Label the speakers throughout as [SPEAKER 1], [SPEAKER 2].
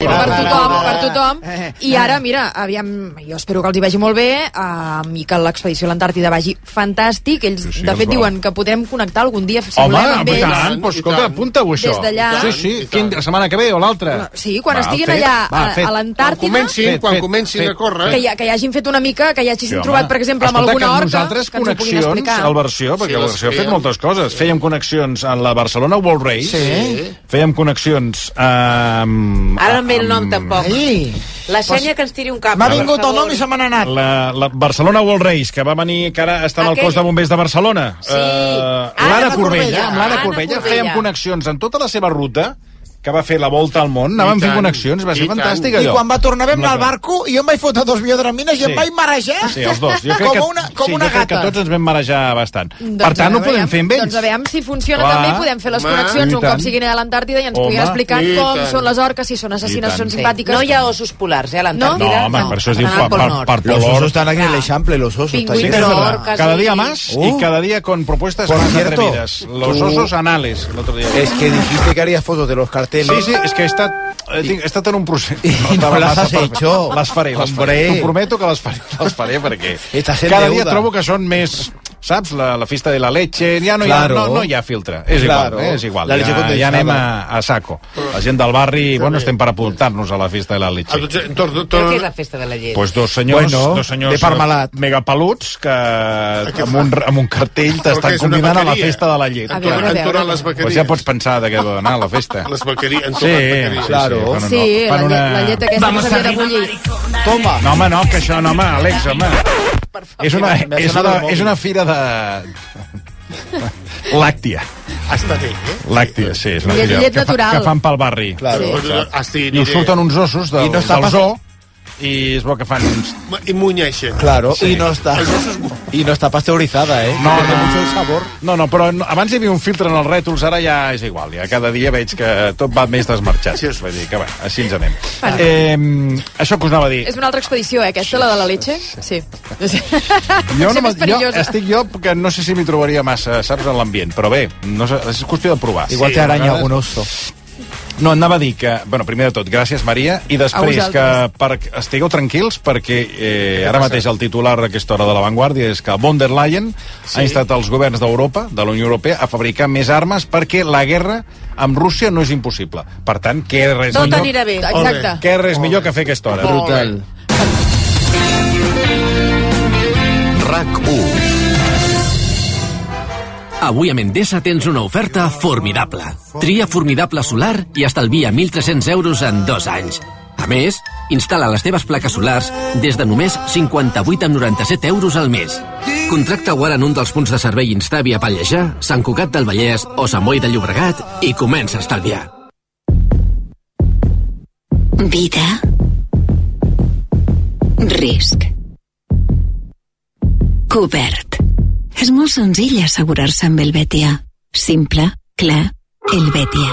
[SPEAKER 1] Per tothom, per tothom.
[SPEAKER 2] Eh.
[SPEAKER 1] I ara, mira, aviam, jo espero que els hi vagi molt bé um, i que l'expedició a l'Antàrtida vagi fantàstic. Ells,
[SPEAKER 3] Sí, sí,
[SPEAKER 1] de
[SPEAKER 3] ens
[SPEAKER 1] fet,
[SPEAKER 3] va.
[SPEAKER 1] diuen que podem connectar algun dia, si
[SPEAKER 3] Home,
[SPEAKER 1] volem, amb
[SPEAKER 3] i
[SPEAKER 1] ells.
[SPEAKER 3] tant,
[SPEAKER 4] I
[SPEAKER 3] doncs escolta,
[SPEAKER 4] tant.
[SPEAKER 3] apunta-ho, això.
[SPEAKER 1] Des d'allà.
[SPEAKER 3] Sí, sí,
[SPEAKER 4] I
[SPEAKER 3] quin,
[SPEAKER 4] tant.
[SPEAKER 3] la setmana que ve o l'altra.
[SPEAKER 1] Sí, quan
[SPEAKER 3] Va,
[SPEAKER 1] estiguin
[SPEAKER 3] fet.
[SPEAKER 1] allà
[SPEAKER 3] Va,
[SPEAKER 1] a,
[SPEAKER 3] fet.
[SPEAKER 1] a
[SPEAKER 4] Quan
[SPEAKER 1] l'Antàrtida...
[SPEAKER 4] comencin,
[SPEAKER 3] Fet,
[SPEAKER 4] quan
[SPEAKER 3] fet,
[SPEAKER 4] comencin
[SPEAKER 3] fet.
[SPEAKER 4] a córrer...
[SPEAKER 1] que, hi, que hi hagin fet una mica, que hi hagin
[SPEAKER 3] home.
[SPEAKER 1] trobat, per exemple, amb
[SPEAKER 3] Escolta,
[SPEAKER 1] alguna
[SPEAKER 3] que
[SPEAKER 1] horta,
[SPEAKER 3] nosaltres
[SPEAKER 1] que ens ho puguin
[SPEAKER 3] connexions
[SPEAKER 1] explicar.
[SPEAKER 3] al versió, perquè
[SPEAKER 4] Sí,
[SPEAKER 3] el
[SPEAKER 4] les
[SPEAKER 3] versió ha fet
[SPEAKER 4] fèiem.
[SPEAKER 3] moltes coses.
[SPEAKER 4] Sí.
[SPEAKER 3] Fèiem connexions en la Barcelona World Race.
[SPEAKER 4] Sí.
[SPEAKER 3] Fèiem connexions... Um,
[SPEAKER 5] Ara no em ve el nom, tampoc.
[SPEAKER 2] Ai,
[SPEAKER 5] La Xènia que ens tiri un cap.
[SPEAKER 2] m'ha
[SPEAKER 5] per
[SPEAKER 2] vingut el
[SPEAKER 5] favor.
[SPEAKER 2] nom i se me n'ha anat.
[SPEAKER 3] La, la Barcelona World Race, que va venir, que ara està en el
[SPEAKER 5] Aquella.
[SPEAKER 3] cos de bombers de Barcelona.
[SPEAKER 5] Sí.
[SPEAKER 3] Eh,
[SPEAKER 5] Anna
[SPEAKER 3] L'Anna Corbella.
[SPEAKER 5] Corbella.
[SPEAKER 3] Amb l'Anna
[SPEAKER 5] Anna
[SPEAKER 3] Corbella
[SPEAKER 5] Corbella.
[SPEAKER 3] fèiem connexions en tota la seva ruta, que va fer la volta al món, anàvem
[SPEAKER 4] I
[SPEAKER 3] fent
[SPEAKER 4] tant,
[SPEAKER 3] connexions, va
[SPEAKER 4] i
[SPEAKER 3] ser
[SPEAKER 4] tant.
[SPEAKER 3] fantàstic
[SPEAKER 4] I
[SPEAKER 2] I
[SPEAKER 3] allò.
[SPEAKER 2] quan va tornar a anar al barco, i jo em vaig fotre dos biodramines i
[SPEAKER 3] Sí.
[SPEAKER 2] em vaig marejar
[SPEAKER 3] Sí, els dos. Jo crec
[SPEAKER 2] com
[SPEAKER 3] que,
[SPEAKER 2] una, com
[SPEAKER 3] sí,
[SPEAKER 2] una
[SPEAKER 3] jo crec
[SPEAKER 2] gata.
[SPEAKER 3] que tots ens vam marejar bastant.
[SPEAKER 1] Doncs
[SPEAKER 3] per tant,
[SPEAKER 1] a
[SPEAKER 3] no podem
[SPEAKER 1] veure,
[SPEAKER 3] fer amb ells.
[SPEAKER 1] Doncs a veure si funciona
[SPEAKER 3] Clar.
[SPEAKER 1] també, podem fer les
[SPEAKER 4] Home,
[SPEAKER 1] connexions
[SPEAKER 3] i
[SPEAKER 1] un cop
[SPEAKER 3] tant.
[SPEAKER 1] siguin a l'Antàrtida i ens puguin
[SPEAKER 3] Home,
[SPEAKER 1] explicar
[SPEAKER 4] i
[SPEAKER 1] com
[SPEAKER 4] tant.
[SPEAKER 1] són les orques, si són
[SPEAKER 3] I
[SPEAKER 1] assassines,
[SPEAKER 3] tant.
[SPEAKER 1] són simpàtiques.
[SPEAKER 5] No hi ha ossos polars, eh, a l'Antàrtida.
[SPEAKER 3] No, home, per això es diu
[SPEAKER 5] Estan al
[SPEAKER 3] per-
[SPEAKER 5] Pol
[SPEAKER 3] per-
[SPEAKER 5] Nord.
[SPEAKER 3] per-
[SPEAKER 2] Los
[SPEAKER 3] Dolor.
[SPEAKER 2] osos están aquí en el Eixample, los osos.
[SPEAKER 1] Pingüins,
[SPEAKER 3] Sí,
[SPEAKER 2] está
[SPEAKER 3] que
[SPEAKER 2] ahí.
[SPEAKER 3] es
[SPEAKER 5] Pero-
[SPEAKER 3] verdad.
[SPEAKER 5] orcas
[SPEAKER 3] Cada
[SPEAKER 5] y-
[SPEAKER 3] día más
[SPEAKER 2] Uh.
[SPEAKER 3] y cada día con propuestas
[SPEAKER 2] Por
[SPEAKER 3] más
[SPEAKER 2] cierto,
[SPEAKER 3] atrevidas. Los
[SPEAKER 2] tú-
[SPEAKER 3] osos anales, el otro día.
[SPEAKER 2] Es que dijiste que harías fotos de los carteles.
[SPEAKER 3] Sí, sí, es que está, eh, tinc- he estat en un procés.
[SPEAKER 2] no
[SPEAKER 3] Estava
[SPEAKER 2] les
[SPEAKER 3] massa
[SPEAKER 2] has
[SPEAKER 3] per-
[SPEAKER 2] hecho.
[SPEAKER 3] Les faré, les faré.
[SPEAKER 2] Hombre.
[SPEAKER 3] T'ho prometo que les faré, les faré perquè
[SPEAKER 2] Estás en
[SPEAKER 3] cada dia
[SPEAKER 2] deuda.
[SPEAKER 3] trobo que són més... Saps? La, la festa de la leche... Ja no,
[SPEAKER 2] Claro.
[SPEAKER 3] hi, ha, no, no hi ha filtre. És igual,
[SPEAKER 2] Claro.
[SPEAKER 3] eh? és igual.
[SPEAKER 2] La leche
[SPEAKER 3] Ja, ja
[SPEAKER 2] condensada.
[SPEAKER 3] anem a, a saco. La gent del barri, bueno, estem per apuntar-nos a la festa de la leche.
[SPEAKER 4] Entonces, entonces,
[SPEAKER 5] Però què és la festa de la llet?
[SPEAKER 3] Pues dos senyors,
[SPEAKER 2] Bueno,
[SPEAKER 3] dos senyors
[SPEAKER 2] de Parmalat.
[SPEAKER 3] megapeluts que amb un, amb un cartell
[SPEAKER 4] Però
[SPEAKER 3] t'estan
[SPEAKER 4] que és una
[SPEAKER 3] convidant a la
[SPEAKER 4] vaqueria.
[SPEAKER 3] festa de la llet.
[SPEAKER 1] A
[SPEAKER 4] entonces,
[SPEAKER 1] veure, a veure.
[SPEAKER 4] entonces les vaqueries.
[SPEAKER 3] Pues ja pots pensar de què va anar a la festa.
[SPEAKER 4] Les vaqueries,
[SPEAKER 3] Sí,
[SPEAKER 4] entonces
[SPEAKER 3] sí, sí,
[SPEAKER 4] vaqueries.
[SPEAKER 2] Claro.
[SPEAKER 3] fan una-
[SPEAKER 1] Sí,
[SPEAKER 3] fan
[SPEAKER 1] la, llet,
[SPEAKER 3] una-
[SPEAKER 1] la llet aquesta que s'havia de bullir.
[SPEAKER 2] Toma.
[SPEAKER 3] No, home, no, que això, no, home, Àlex, home. És una,
[SPEAKER 2] m'ha
[SPEAKER 3] és
[SPEAKER 2] sonat
[SPEAKER 3] una,
[SPEAKER 2] el mòbil.
[SPEAKER 3] és una fira de... Làctia.
[SPEAKER 4] Està bé, eh?
[SPEAKER 3] Làctia, sí. És una
[SPEAKER 1] Llet-
[SPEAKER 3] fira
[SPEAKER 1] llet
[SPEAKER 3] que, fa-
[SPEAKER 1] natural.
[SPEAKER 3] que fan pel barri.
[SPEAKER 2] Claro.
[SPEAKER 1] Sí.
[SPEAKER 4] Doncs, Asti,
[SPEAKER 3] I us surten uns ossos del,
[SPEAKER 2] I no
[SPEAKER 3] no
[SPEAKER 2] està
[SPEAKER 3] del
[SPEAKER 2] pas-
[SPEAKER 3] zoo i es veu que fan uns
[SPEAKER 4] I munyeixen.
[SPEAKER 2] Claro,
[SPEAKER 3] Sí.
[SPEAKER 2] y no está. Y no está pasteurizada, ¿eh?
[SPEAKER 3] No,
[SPEAKER 2] Pierde
[SPEAKER 3] no.
[SPEAKER 2] mucho el sabor.
[SPEAKER 3] No, no, però no- abans hi havia un filtre en els rètols, ara ja és igual, ja cada dia veig que tot va més desmarxat. Sí, Vull dir que, va, així ens anem. Eh, això que us anava a dir,
[SPEAKER 1] És una altra expedició, eh, aquesta, la de la leche? Sí.
[SPEAKER 3] jo, no, me-
[SPEAKER 1] Potser més
[SPEAKER 3] jo
[SPEAKER 1] perillosa.
[SPEAKER 3] estic jo que no sé si m'hi trobaria massa, saps, en l'ambient, però bé, no sé, és qüestió de provar.
[SPEAKER 2] Igual
[SPEAKER 3] Sí,
[SPEAKER 2] te araña
[SPEAKER 3] a
[SPEAKER 2] algún
[SPEAKER 3] vegades-
[SPEAKER 2] oso.
[SPEAKER 3] No, anava a dir que, bueno, primer de tot, gràcies, Maria, i després
[SPEAKER 1] vosaltres.
[SPEAKER 3] que per, estigueu tranquils perquè eh, ara mateix el titular a aquesta hora de la Vanguardia és que von der Leyen ha instat els governs d'Europa, de la Unió Europea, a fabricar més armes perquè la guerra amb Rússia no és impossible. Per tant, què és res
[SPEAKER 5] Tot
[SPEAKER 3] millor,
[SPEAKER 5] anirà bé.
[SPEAKER 1] Exacte.
[SPEAKER 3] què és res millor que fer a aquesta hora?
[SPEAKER 2] Brutal.
[SPEAKER 6] RAC1.
[SPEAKER 7] Avui a Mendesa tens una oferta formidable. Tria formidable solar i estalvia 1.300 euros en dos anys. A més, instal·la les teves plaques solars des de només 58 amb 97 euros al mes. Contracta-ho ara en un dels punts de servei Instàvia Pallejà, Sant Cugat del Vallès o Sant Boi de Llobregat i comença a estalviar.
[SPEAKER 8] Vida. Risc. Cobert. És molt senzill assegurar-se amb el Betia. Simple, clar, el Betia.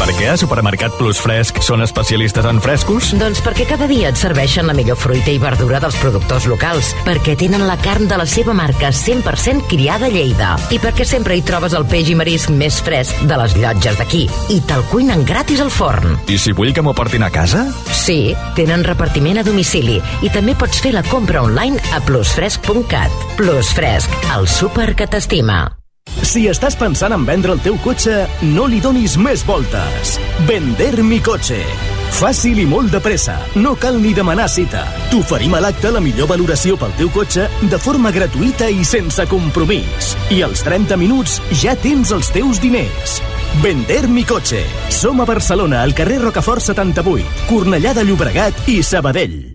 [SPEAKER 6] Per què a Supermercat Plus Fresc són especialistes en frescos?
[SPEAKER 9] Doncs perquè cada dia et serveixen la millor fruita i verdura dels productors locals, perquè tenen la carn de la seva marca 100% criada a Lleida i perquè sempre hi trobes el peix i marisc més fresc de les llotges d'aquí i te'l cuinen gratis al forn.
[SPEAKER 6] I si vull que m'ho portin a casa?
[SPEAKER 9] Sí, tenen repartiment a domicili i també pots fer la compra online a plusfresc.cat. Plusfresc, el súper que t'estima.
[SPEAKER 7] Si estàs pensant en vendre el teu cotxe, no li donis més voltes. Vender mi cotxe.
[SPEAKER 10] Fàcil i molt de pressa. No cal ni demanar cita. T'oferim a l'acte la millor valoració pel teu cotxe de forma gratuïta i sense compromís. I als 30 minuts ja tens els teus diners. Vender mi cotxe. Som a Barcelona, al carrer Rocafort 78, Cornellà de Llobregat i Sabadell.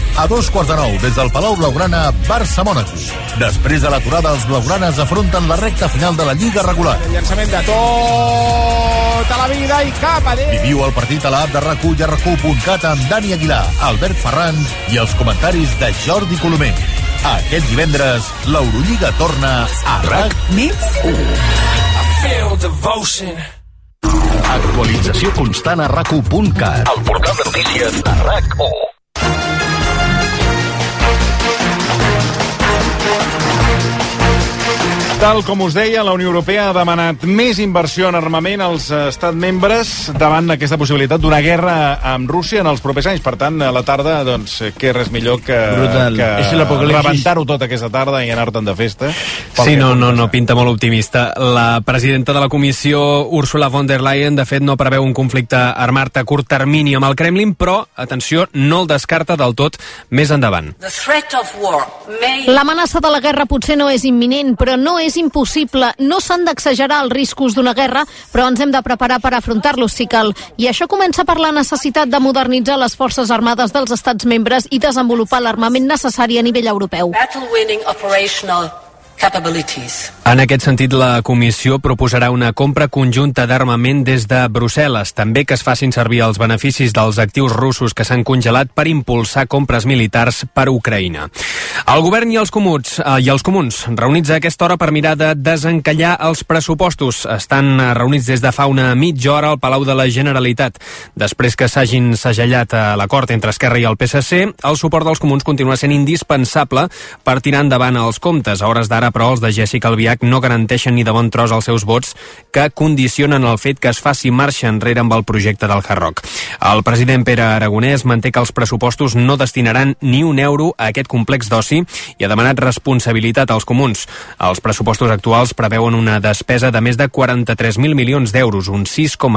[SPEAKER 3] A dos quarts de nou, des del Palau Blaugrana, Barça-Mònaco. Després de l'aturada, els blaugranes afronten la recta final de la Lliga regular.
[SPEAKER 2] Llançament de tota la vida i cap a dins.
[SPEAKER 3] Viviu el partit a l'app de rac i a rac amb Dani Aguilar, Albert Ferran i els comentaris de Jordi Colomer. Aquest divendres, l'Eurolliga torna a RAC més 1.
[SPEAKER 11] Feel devotion.
[SPEAKER 3] Actualització constant a rac1.cat. El portal de notícies de RAC1.
[SPEAKER 12] Tal com us deia, la Unió Europea ha demanat més inversió en armament als eh, estats membres davant aquesta possibilitat d'una guerra amb Rússia en els propers anys. Per tant, a la tarda, doncs, eh, què res millor que,
[SPEAKER 13] Brutal.
[SPEAKER 12] que
[SPEAKER 13] És l'apocalipsis.
[SPEAKER 12] rebentar-ho tot aquesta tarda i anar-te'n de festa. Pel
[SPEAKER 13] Sí,
[SPEAKER 12] que
[SPEAKER 13] no, no, no pinta molt optimista. La presidenta de la comissió, Ursula von der Leyen, de fet no preveu un conflicte armat a curt termini amb el Kremlin, però, atenció, no el descarta del tot més endavant.
[SPEAKER 14] L'amenaça de la guerra potser no és imminent, però no és impossible. No s'han d'exagerar els riscos d'una guerra, però ens hem de preparar per afrontar-los si cal. I això comença per la necessitat de modernitzar les forces armades dels estats membres i desenvolupar l'armament necessari a nivell europeu.
[SPEAKER 15] Battle-winning operational capabilities.
[SPEAKER 13] En aquest sentit, la comissió proposarà una compra conjunta d'armament des de Brussel·les, també que es facin servir els beneficis dels actius russos que s'han congelat per impulsar compres militars per Ucraïna. El govern i els comuns, eh, i els comuns reunits a aquesta hora per mirar de desencallar els pressupostos, estan eh, reunits des de fa una mitja hora al Palau de la Generalitat. Després que s'hagin segellat eh, l'acord entre Esquerra i el PSC, el suport dels comuns continua sent indispensable per tirar endavant els comptes. A hores d'ara, però, els de Jessica Albiach no garanteixen ni de bon tros els seus vots que condicionen el fet que es faci marxa enrere amb el projecte del Hard-Rock. El president Pere Aragonès manté que els pressupostos no destinaran ni un euro a aquest complex d'oci i ha demanat responsabilitat als comuns. Els pressupostos actuals preveuen una despesa de més de 43.000 milions d'euros, un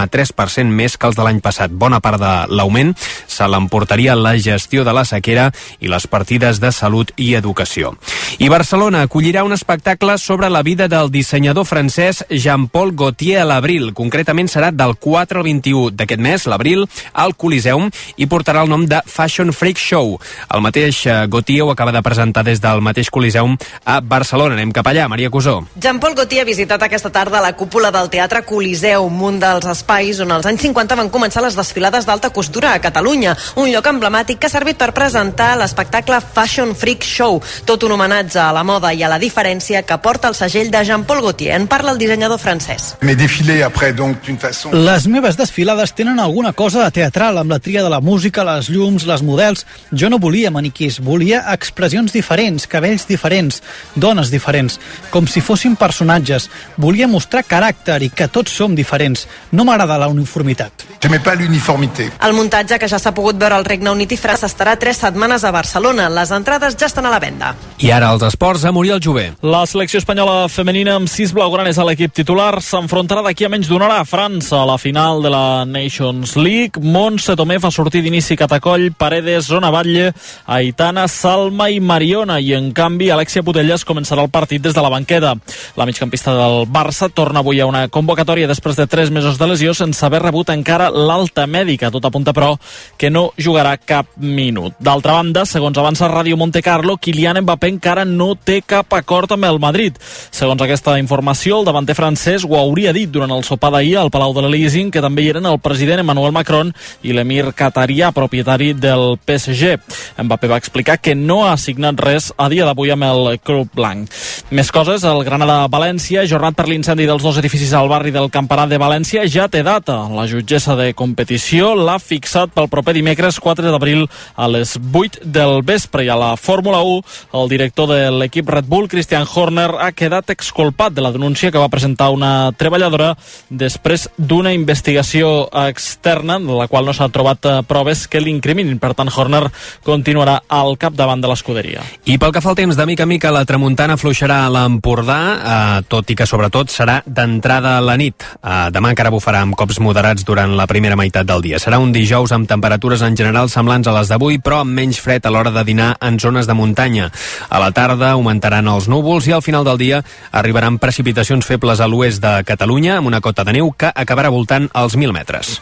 [SPEAKER 13] 6,3% més que els de l'any passat. Bona part de l'augment se l'emportaria la gestió de la sequera i les partides de salut i educació. I Barcelona acollirà un espectacle sobre la vida del dissenyador francès Jean-Paul Gaultier a l'abril. Concretament serà del 4 al 21 d'aquest mes, l'abril, al Coliseum i portarà el nom de Fashion Freak Show. El mateix eh, Gaultier ho acaba de presentar des del mateix Coliseum a Barcelona. Anem cap allà, Maria Cusó.
[SPEAKER 16] Jean-Paul Gaultier ha visitat aquesta tarda la cúpula del Teatre Coliseu, un dels espais on als anys 50 van començar les desfilades d'alta costura a Catalunya, un lloc emblemàtic que ha servit per presentar l'espectacle Fashion Freak Show, tot un homenatge a la moda i a la diferència que porta el segell de Jean-Paul Gaultier. En parla el dissenyador francès.
[SPEAKER 6] Mes défilés après donc d'une façon
[SPEAKER 17] Les meves desfilades tenen alguna cosa de teatral, amb la tria de la música, les llums, les models. Jo no volia maniquís, volia expressions diferents, cabells diferents, dones diferents, com si fossin personatges. Volia mostrar caràcter i que tots som diferents. No m'agrada la uniformitat.
[SPEAKER 6] j'aimais pas l'uniformité.
[SPEAKER 16] El muntatge que ja s'ha pogut veure al Regne Unit i França estarà tres setmanes a Barcelona. Les entrades ja estan a la venda.
[SPEAKER 13] I ara els esports a Muriel Jové.
[SPEAKER 18] La selecció espanyola femenina amb sis blaugranes a l'equip titular s'enfrontarà d'aquí a menys d'una hora a França a la final de la Nations League. Montse Tomé fa sortir d'inici Catacoll, Paredes, Zona Batlle, Aitana, Salma i Mariona i en canvi Alexia Putellas començarà el partit des de la banqueta. La migcampista del Barça torna avui a una convocatòria després de tres mesos de lesió sense haver rebut encara l'alta mèdica. Tot apunta, però, que no jugarà cap minut. D'altra banda, segons avança Ràdio Monte Carlo, Kylian Mbappé encara no té cap acord amb el Madrid. Segons aquesta informació, el davanter francès ho hauria dit durant el sopar d'ahir al Palau de l'Elysing, que també hi eren el president Emmanuel Macron i l'emir Qatarià, propietari del PSG. Mbappé va explicar que no ha signat res a dia d'avui amb el club blanc. Més coses, el Granada-València, jornat per l'incendi dels dos edificis al barri del Campanat de València, ja té data. La jutgessa de competició l'ha fixat pel proper dimecres 4 d'abril a les 8 del vespre. I a la Fórmula 1, el director de l'equip Red Bull, Christian Horner, ha quedat exculpat de la denúncia que va presentar una treballadora després d'una investigació externa en la qual no s'han trobat eh, proves que l'incriminin. Per tant, Horner continuarà al capdavant de l'escuderia.
[SPEAKER 13] I pel que fa al temps, de mica a mica la tramuntana afluixarà a l'Empordà, eh, tot i que sobretot serà d'entrada a la nit. Eh, demà encara bufarà amb cops moderats durant la primera meitat del dia. Serà un dijous amb temperatures en general semblants a les d'avui, però amb menys fred a l'hora de dinar en zones de muntanya. A la tarda augmentaran els núvols i al final del dia arribaran precipitacions febles a l'oest de Catalunya amb una cota de neu que acabarà voltant als 1.000 metres.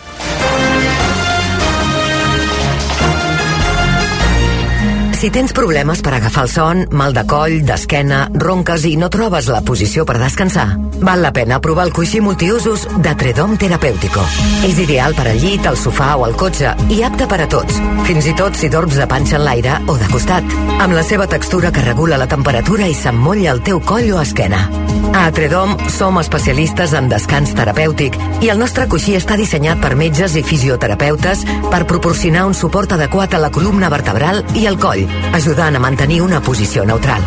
[SPEAKER 9] Si tens problemes per agafar el son, mal de coll, d'esquena, ronques i no trobes la posició per descansar, val la pena provar el coixí multiusos de Tredom Terapèutico. És ideal per al llit, al sofà o al cotxe i apte per a tots, fins i tot si dorms de panxa en l'aire o de costat, amb la seva textura que regula la temperatura i s'emmolla el teu coll o esquena. A Tredom som especialistes en descans terapèutic i el nostre coixí està dissenyat per metges i fisioterapeutes per proporcionar un suport adequat a la columna vertebral i al coll, ajudant a mantenir una posició neutral.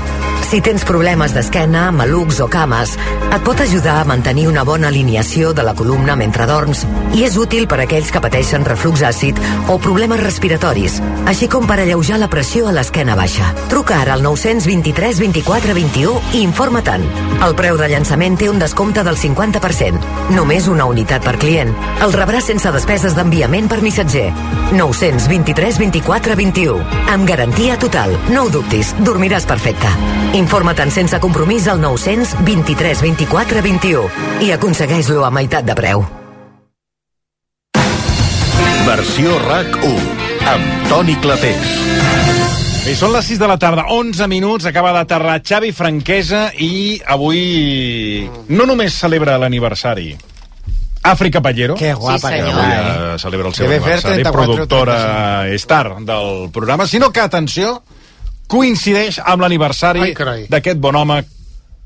[SPEAKER 9] Si tens problemes d'esquena, malucs o cames, et pot ajudar a mantenir una bona alineació de la columna mentre dorms i és útil per a aquells que pateixen reflux àcid o problemes respiratoris, així com per alleujar la pressió a l'esquena baixa. Truca ara al 923 24 21 i informa-te'n. El preu de llançament té un descompte del 50%, només una unitat per client. El rebràs sense despeses d'enviament per missatger. 923 24 21. Amb garantia total. No ho dubtis, dormiràs perfecte. Informa-te'n sense compromís al 923 24 21 i aconsegueix-lo a meitat de preu.
[SPEAKER 19] Versió RAC1 amb Toni Clapés.
[SPEAKER 3] I són les 6 de la tarda, 11 minuts, acaba d'aterrar Xavi Franquesa i avui no només celebra l'aniversari, Àfrica Pallero. Que
[SPEAKER 2] guapa Sí, que senyor.
[SPEAKER 3] avui
[SPEAKER 2] va,
[SPEAKER 3] eh, celebra el seu
[SPEAKER 2] Debe fer
[SPEAKER 3] aniversari,
[SPEAKER 2] 34,
[SPEAKER 3] productora star del programa, sinó que, atenció, coincideix amb l'aniversari d'aquest bon home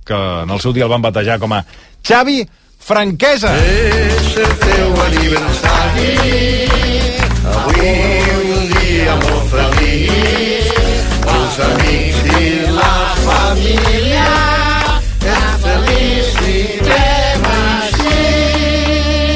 [SPEAKER 3] que en el seu dia el van batejar com a Xavi Franquesa. És el teu aniversari.
[SPEAKER 20] Avui un dia molt feliç, els amics i la família, et felicitem així.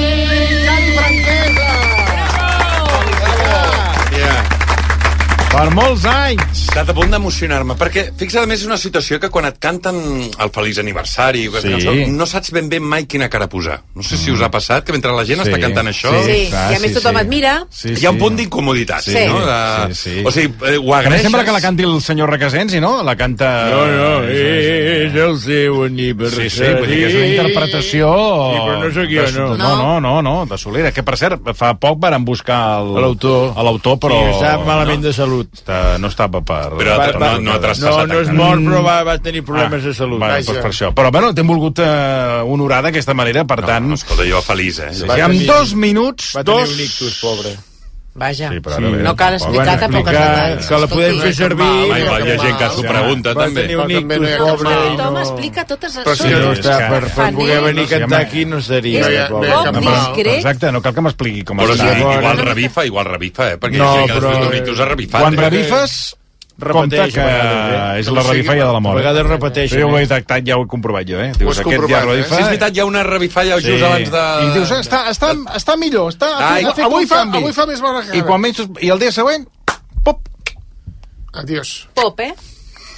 [SPEAKER 3] Per molts anys!
[SPEAKER 4] Estat a punt d'emocionar-me, perquè fixa't, a més, és una situació que quan et canten el feliç aniversari,
[SPEAKER 3] Sí. Mm.
[SPEAKER 4] sí. no saps ben bé mai quina cara posar. No sé si us ha passat que mentre la gent
[SPEAKER 3] Sí.
[SPEAKER 4] sí. està cantant això...
[SPEAKER 3] Sí, Sí, clar, i a més sí, tothom sí. et
[SPEAKER 5] mira.
[SPEAKER 3] Sí,
[SPEAKER 4] Hi ha un
[SPEAKER 3] sí.
[SPEAKER 4] punt d'incomoditat,
[SPEAKER 3] Sí.
[SPEAKER 4] no?
[SPEAKER 3] Sí, sí.
[SPEAKER 4] O sigui, eh, ho
[SPEAKER 3] Que no
[SPEAKER 4] agraeixes...
[SPEAKER 3] sembla que la canti el senyor Requesens, i no? La canta...
[SPEAKER 21] No, no,
[SPEAKER 3] Sí, sí, sí.
[SPEAKER 21] és el seu aniversari.
[SPEAKER 3] Sí, sí, vull dir que és una interpretació...
[SPEAKER 21] Sí, però no sóc jo,
[SPEAKER 3] de-
[SPEAKER 21] no.
[SPEAKER 3] No, no, no, no, de Solera, que per cert, fa poc varen buscar el-
[SPEAKER 21] L'autor.
[SPEAKER 3] a l'autor, però...
[SPEAKER 21] Sí, està malament de salut.
[SPEAKER 3] Està, no estava per...
[SPEAKER 21] Però
[SPEAKER 3] per-
[SPEAKER 21] no- no ha traspassat No, no és encara. Ah, mort, però va- va tenir problemes de salut.
[SPEAKER 3] Va,
[SPEAKER 21] Vaja.
[SPEAKER 3] doncs per això. Però, bueno, t'hem volgut eh, honorar d'aquesta manera, per tant...
[SPEAKER 4] Escolta, jo feliç, eh?
[SPEAKER 3] Sí, amb dos minuts,
[SPEAKER 21] Va tenir
[SPEAKER 3] dos...
[SPEAKER 21] un ictus, pobre.
[SPEAKER 5] Vaja,
[SPEAKER 3] Sí, però
[SPEAKER 21] Sí.
[SPEAKER 3] ara bé,
[SPEAKER 21] No cal
[SPEAKER 3] tampoc.
[SPEAKER 21] explicar
[SPEAKER 3] Bueno,
[SPEAKER 21] tampoc eh? els detalls. Que la podem
[SPEAKER 5] Escolti,
[SPEAKER 21] fer servir.
[SPEAKER 4] Home, hi ha gent que s'ho pregunta,
[SPEAKER 21] Va
[SPEAKER 4] també.
[SPEAKER 21] tenir un
[SPEAKER 5] Però també
[SPEAKER 21] ictus,
[SPEAKER 5] no hi ha
[SPEAKER 21] pobre. i
[SPEAKER 5] cap mal. Tothom
[SPEAKER 21] no-
[SPEAKER 5] explica totes les
[SPEAKER 21] Però si
[SPEAKER 5] coses.
[SPEAKER 21] no està,
[SPEAKER 5] Sí,
[SPEAKER 21] per,
[SPEAKER 5] és
[SPEAKER 21] per
[SPEAKER 5] que-
[SPEAKER 21] poder venir a
[SPEAKER 3] Sí, home.
[SPEAKER 21] cantar aquí no estaria.
[SPEAKER 5] És
[SPEAKER 21] pobre.
[SPEAKER 5] poc discret.
[SPEAKER 3] Exacte, no cal que m'expliqui com
[SPEAKER 4] Però sí,
[SPEAKER 3] està.
[SPEAKER 4] igual rebifa, igual rebifa, eh? Perquè no,
[SPEAKER 3] No,
[SPEAKER 4] hi ha gent que després
[SPEAKER 3] però-
[SPEAKER 4] d'un ictus ha rebifat.
[SPEAKER 3] Quan
[SPEAKER 4] eh?
[SPEAKER 3] rebifes, compta
[SPEAKER 21] repeteix,
[SPEAKER 3] que
[SPEAKER 21] a vegades, eh?
[SPEAKER 3] és la
[SPEAKER 21] O sigui,
[SPEAKER 3] rebifaia de la mort.
[SPEAKER 21] a vegades repeteix,
[SPEAKER 3] Jo ho
[SPEAKER 21] eh?
[SPEAKER 3] he detectat, ja ho he comprovat jo, eh? Dius,
[SPEAKER 4] Ho has
[SPEAKER 3] aquest ja
[SPEAKER 4] comprovat, eh?
[SPEAKER 3] rebifa...
[SPEAKER 4] Sí, és veritat, hi ha una rebifalla just
[SPEAKER 3] Sí.
[SPEAKER 4] abans de...
[SPEAKER 3] I dius,
[SPEAKER 21] "Eh, Està, està, està millor. Està,
[SPEAKER 3] Ai,
[SPEAKER 21] ha fet
[SPEAKER 3] avui
[SPEAKER 21] un
[SPEAKER 3] fa-
[SPEAKER 21] canvi.
[SPEAKER 3] avui fa més
[SPEAKER 21] bona
[SPEAKER 3] I, quan menys, I el dia següent,
[SPEAKER 21] Adiós.
[SPEAKER 5] Pop, eh?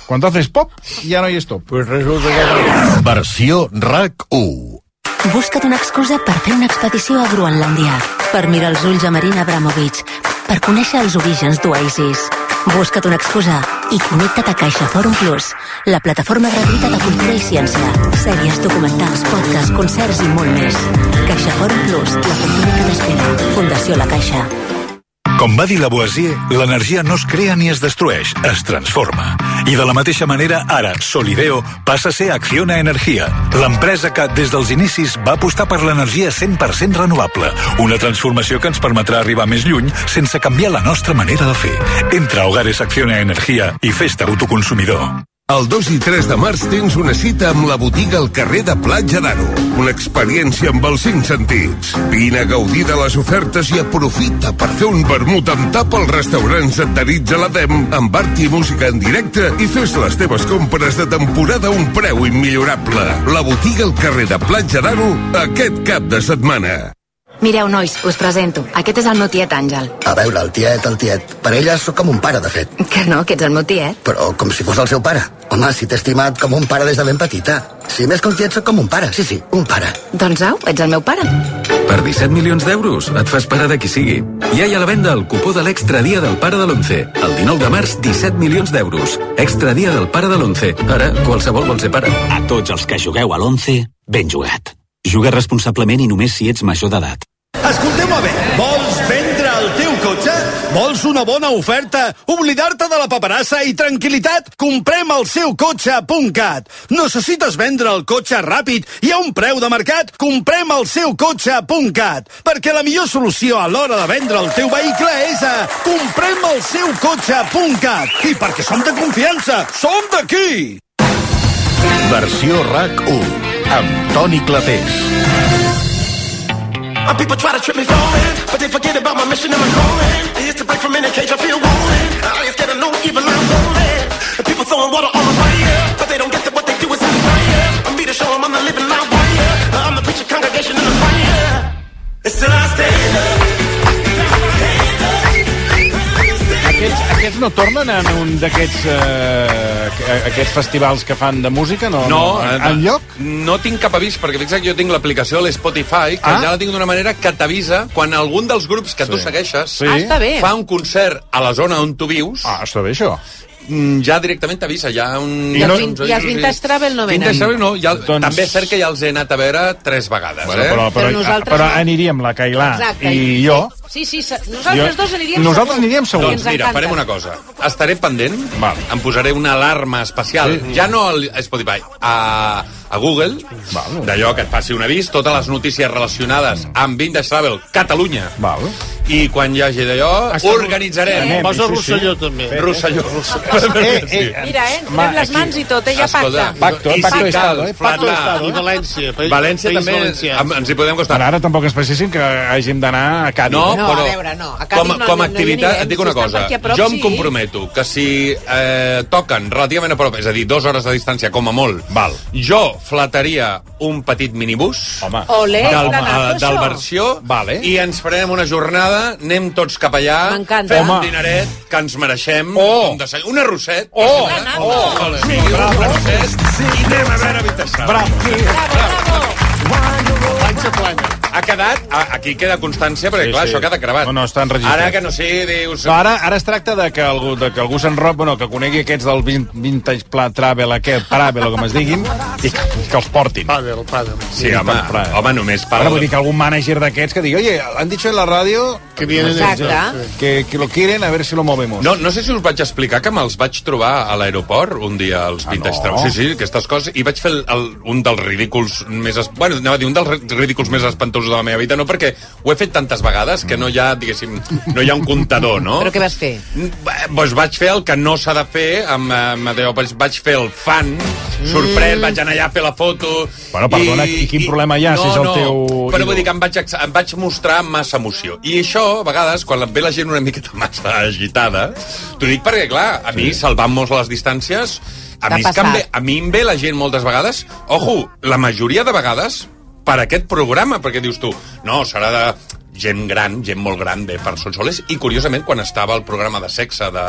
[SPEAKER 3] quan haces pop, ja no hi és top.
[SPEAKER 21] Pues resulta que...
[SPEAKER 19] Versió RAC1.
[SPEAKER 15] Busca't una excusa per fer una expedició a Groenlàndia, per mirar els ulls a Marina Abramovic, per conèixer els orígens d'Oasis. Busca't una excusa i connecta't a CaixaForum Plus, la plataforma gratuïta de cultura i ciència. Sèries, documentals, podcasts, concerts i molt més. CaixaForum Plus, la cultura que t'espera. Fundació La Caixa.
[SPEAKER 19] Com va dir Lavoisier, l'energia no es crea ni es destrueix, es transforma. I de la mateixa manera, ara, Solideo passa a ser Acciona Energia, l'empresa que, des dels inicis, va apostar per l'energia 100% renovable, una transformació que ens permetrà arribar més lluny sense canviar la nostra manera de fer. Entra a Hogares Acciona Energia i festa autoconsumidor.
[SPEAKER 6] El 2 i 3 de març tens una cita amb la botiga al carrer de Platja d'Aro. Una experiència amb els cinc sentits. Vine a gaudir de les ofertes i aprofita per fer un vermut amb tap als restaurants adherits a l'ADEM, amb art i música en directe i fes les teves compres de temporada a un preu immillorable. La botiga al carrer de Platja d'Aro aquest cap de setmana.
[SPEAKER 1] Mireu, nois, us presento. Aquest és el meu tiet Àngel.
[SPEAKER 7] A veure, el tiet, el tiet. Per ella sóc com un pare, de fet.
[SPEAKER 1] Que no, que ets el meu tiet.
[SPEAKER 7] Però com si fos el seu pare. Home, si t'he estimat com un pare des de ben petita. Si més que un tiet, sóc com un pare. Sí, sí, un pare.
[SPEAKER 1] Doncs au, ets el meu pare.
[SPEAKER 8] Per 17 milions d'euros et fas pare de qui sigui. Ja hi ha a la venda el cupó de l'extra dia del pare de l'11. El 19 de març, 17 milions d'euros. Extra dia del pare de l'11. Ara, qualsevol vol ser pare.
[SPEAKER 22] A tots els que jugueu a l'11, ben jugat. Juga responsablement i només si ets major d'edat.
[SPEAKER 23] Escolteu-me bé, vols vendre el teu cotxe? Vols una bona oferta? Oblidar-te de la paperassa i tranquil·litat? Comprem el seu cotxe.cat. Necessites vendre el cotxe ràpid i a un preu de mercat? Comprem el seu cotxe.cat. Perquè la millor solució a l'hora de vendre el teu vehicle és a comprem el seu cotxe.cat. I perquè som de confiança, som d'aquí!
[SPEAKER 19] Versió RAC 1 amb Toni Clapés.
[SPEAKER 24] Uh, people try to trip me falling, but they forget about my mission and my calling. It's to break from any cage I feel wanted. I ain't scared of no evil, I'm rolling. And People throwing water on the fire, but they don't get that what they do is inspire. I'm here to show 'em I'm the living light wire. Uh, I'm the preacher congregation in the fire. And still I stand up.
[SPEAKER 3] Aquests, aquests no tornen en un d'aquests eh, aquests festivals que fan de música? No,
[SPEAKER 4] No,
[SPEAKER 3] no,
[SPEAKER 4] eh,
[SPEAKER 3] en lloc?
[SPEAKER 4] No tinc cap avís, perquè fixa't que jo tinc l'aplicació de l'Spotify, que
[SPEAKER 3] Ah.
[SPEAKER 4] ah? ja la tinc d'una manera que t'avisa quan algun dels grups que sí. tu segueixes
[SPEAKER 3] Ah, està bé.
[SPEAKER 4] fa un concert a la zona on tu vius...
[SPEAKER 3] Ah, està bé, això.
[SPEAKER 4] Mm, Ja directament t'avisa, ja un...
[SPEAKER 5] I els vin- i els Vintage Travel no venen.
[SPEAKER 4] Vintage Travel no, ja, doncs... també és cert que ja els he anat a veure tres vegades,
[SPEAKER 3] Bueno,
[SPEAKER 4] eh?
[SPEAKER 3] però, però, però aniríem la Cailà
[SPEAKER 5] Exacte.
[SPEAKER 3] i jo...
[SPEAKER 5] Sí, sí, se- nosaltres
[SPEAKER 3] Jo-
[SPEAKER 5] dos aniríem
[SPEAKER 3] nosaltres
[SPEAKER 5] segur.
[SPEAKER 3] aniríem segur.
[SPEAKER 5] I ens
[SPEAKER 4] Doncs mira,
[SPEAKER 5] encanten.
[SPEAKER 4] farem una cosa. Estaré pendent, Val. em posaré una alarma especial, sí. ja no a Spotify, a, a Google, d'allò que et faci un avís, totes les notícies relacionades amb Vintage Travel Catalunya.
[SPEAKER 3] Val.
[SPEAKER 4] I quan hi hagi d'allò,
[SPEAKER 12] Està-
[SPEAKER 4] organitzarem.
[SPEAKER 3] Eh,
[SPEAKER 12] Anem, Posa sí, sí. Rosselló, també.
[SPEAKER 4] Rosselló. Ah,
[SPEAKER 12] Eh, eh,
[SPEAKER 5] Mira, eh,
[SPEAKER 12] Ma,
[SPEAKER 5] fem les mans i tot, eh, ja
[SPEAKER 4] Escolta,
[SPEAKER 5] pacta.
[SPEAKER 4] i si cal, flatar-
[SPEAKER 12] I València. pa-
[SPEAKER 4] València
[SPEAKER 12] País
[SPEAKER 4] també
[SPEAKER 12] Valencià.
[SPEAKER 4] em- ens hi podem costar.
[SPEAKER 3] Però ara tampoc ens precissin que hàgim d'anar a Càdiz.
[SPEAKER 4] No,
[SPEAKER 5] No, a
[SPEAKER 4] però
[SPEAKER 5] veure, no, a Cádiz
[SPEAKER 4] com,
[SPEAKER 5] no-
[SPEAKER 4] com
[SPEAKER 5] no
[SPEAKER 4] a
[SPEAKER 5] hi
[SPEAKER 4] activitat,
[SPEAKER 5] anirem,
[SPEAKER 4] et dic
[SPEAKER 5] si
[SPEAKER 4] una
[SPEAKER 5] estan
[SPEAKER 4] cosa.
[SPEAKER 5] per aquí a prop,
[SPEAKER 4] jo em
[SPEAKER 5] sí.
[SPEAKER 4] comprometo que si eh, toquen relativament a prop, és a dir, dues hores de distància, com a molt, Val. jo flataria un petit minibús Home.
[SPEAKER 5] Olé,
[SPEAKER 4] del,
[SPEAKER 5] tan alto,
[SPEAKER 4] eh, del
[SPEAKER 5] això.
[SPEAKER 4] versió vale. i ens farem una jornada, anem tots cap allà,
[SPEAKER 5] M'encanta.
[SPEAKER 4] fem
[SPEAKER 5] Home.
[SPEAKER 4] un dineret que ens mereixem, oh. un, desall... un arrosset, oh. oh. oh. Sí, un arrosset, i anem a veure Vitessar. Bravo. Ha quedat, a- aquí queda constància, perquè sí, clar, això queda gravat.
[SPEAKER 3] No, no, està enregistrat.
[SPEAKER 4] Ara que no sé, dius...
[SPEAKER 3] No, ara, ara es tracta de que algú, de que algú se'n rob, bueno, que conegui aquests del vin- vintage pla, travel, aquest, travel, o com es diguin, i que, que els portin.
[SPEAKER 12] Pàdel, pàdel.
[SPEAKER 3] Sí, home,
[SPEAKER 4] home, només
[SPEAKER 3] Ara vull dir que algun manager d'aquests que digui, oye, han dicho en la ràdio que,
[SPEAKER 12] vienen Exacte.
[SPEAKER 5] ellos,
[SPEAKER 3] que, que lo quieren, a ver si lo movemos.
[SPEAKER 4] No, no sé si us vaig explicar que me'ls vaig trobar a l'aeroport un dia als Vintage ah, no? Sí, sí, aquestes coses. I vaig fer el, el, un dels ridículs més... Es... Bueno, anava a dir, un dels ri- ridículs més espantosos de la meva vida, no perquè ho he fet tantes vegades que no hi ha, diguéssim, no hi ha un comptador, no?
[SPEAKER 5] Però què vas fer?
[SPEAKER 4] Eh, Doncs vaig fer el que no s'ha de fer amb, amb Adeo, vaig, vaig fer el fan
[SPEAKER 5] Mm.
[SPEAKER 4] sorprès, vaig anar allà a fer la foto
[SPEAKER 3] Bueno, perdona, i quin problema hi ha, si és el teu
[SPEAKER 4] Però
[SPEAKER 3] ídol?
[SPEAKER 4] vull dir que em vaig, ex- em vaig mostrar massa emoció i això, a vegades, quan ve la gent una miqueta massa agitada t'ho dic perquè, clar, a mi, salvant-nos les distàncies a
[SPEAKER 8] T'ha
[SPEAKER 4] mi, és que em ve,
[SPEAKER 8] passat.
[SPEAKER 4] a mi em ve la gent moltes vegades ojo, la majoria de vegades per aquest programa, perquè dius tu no, serà de gent gran, gent molt gran de persones soles, i curiosament quan estava el programa de sexe de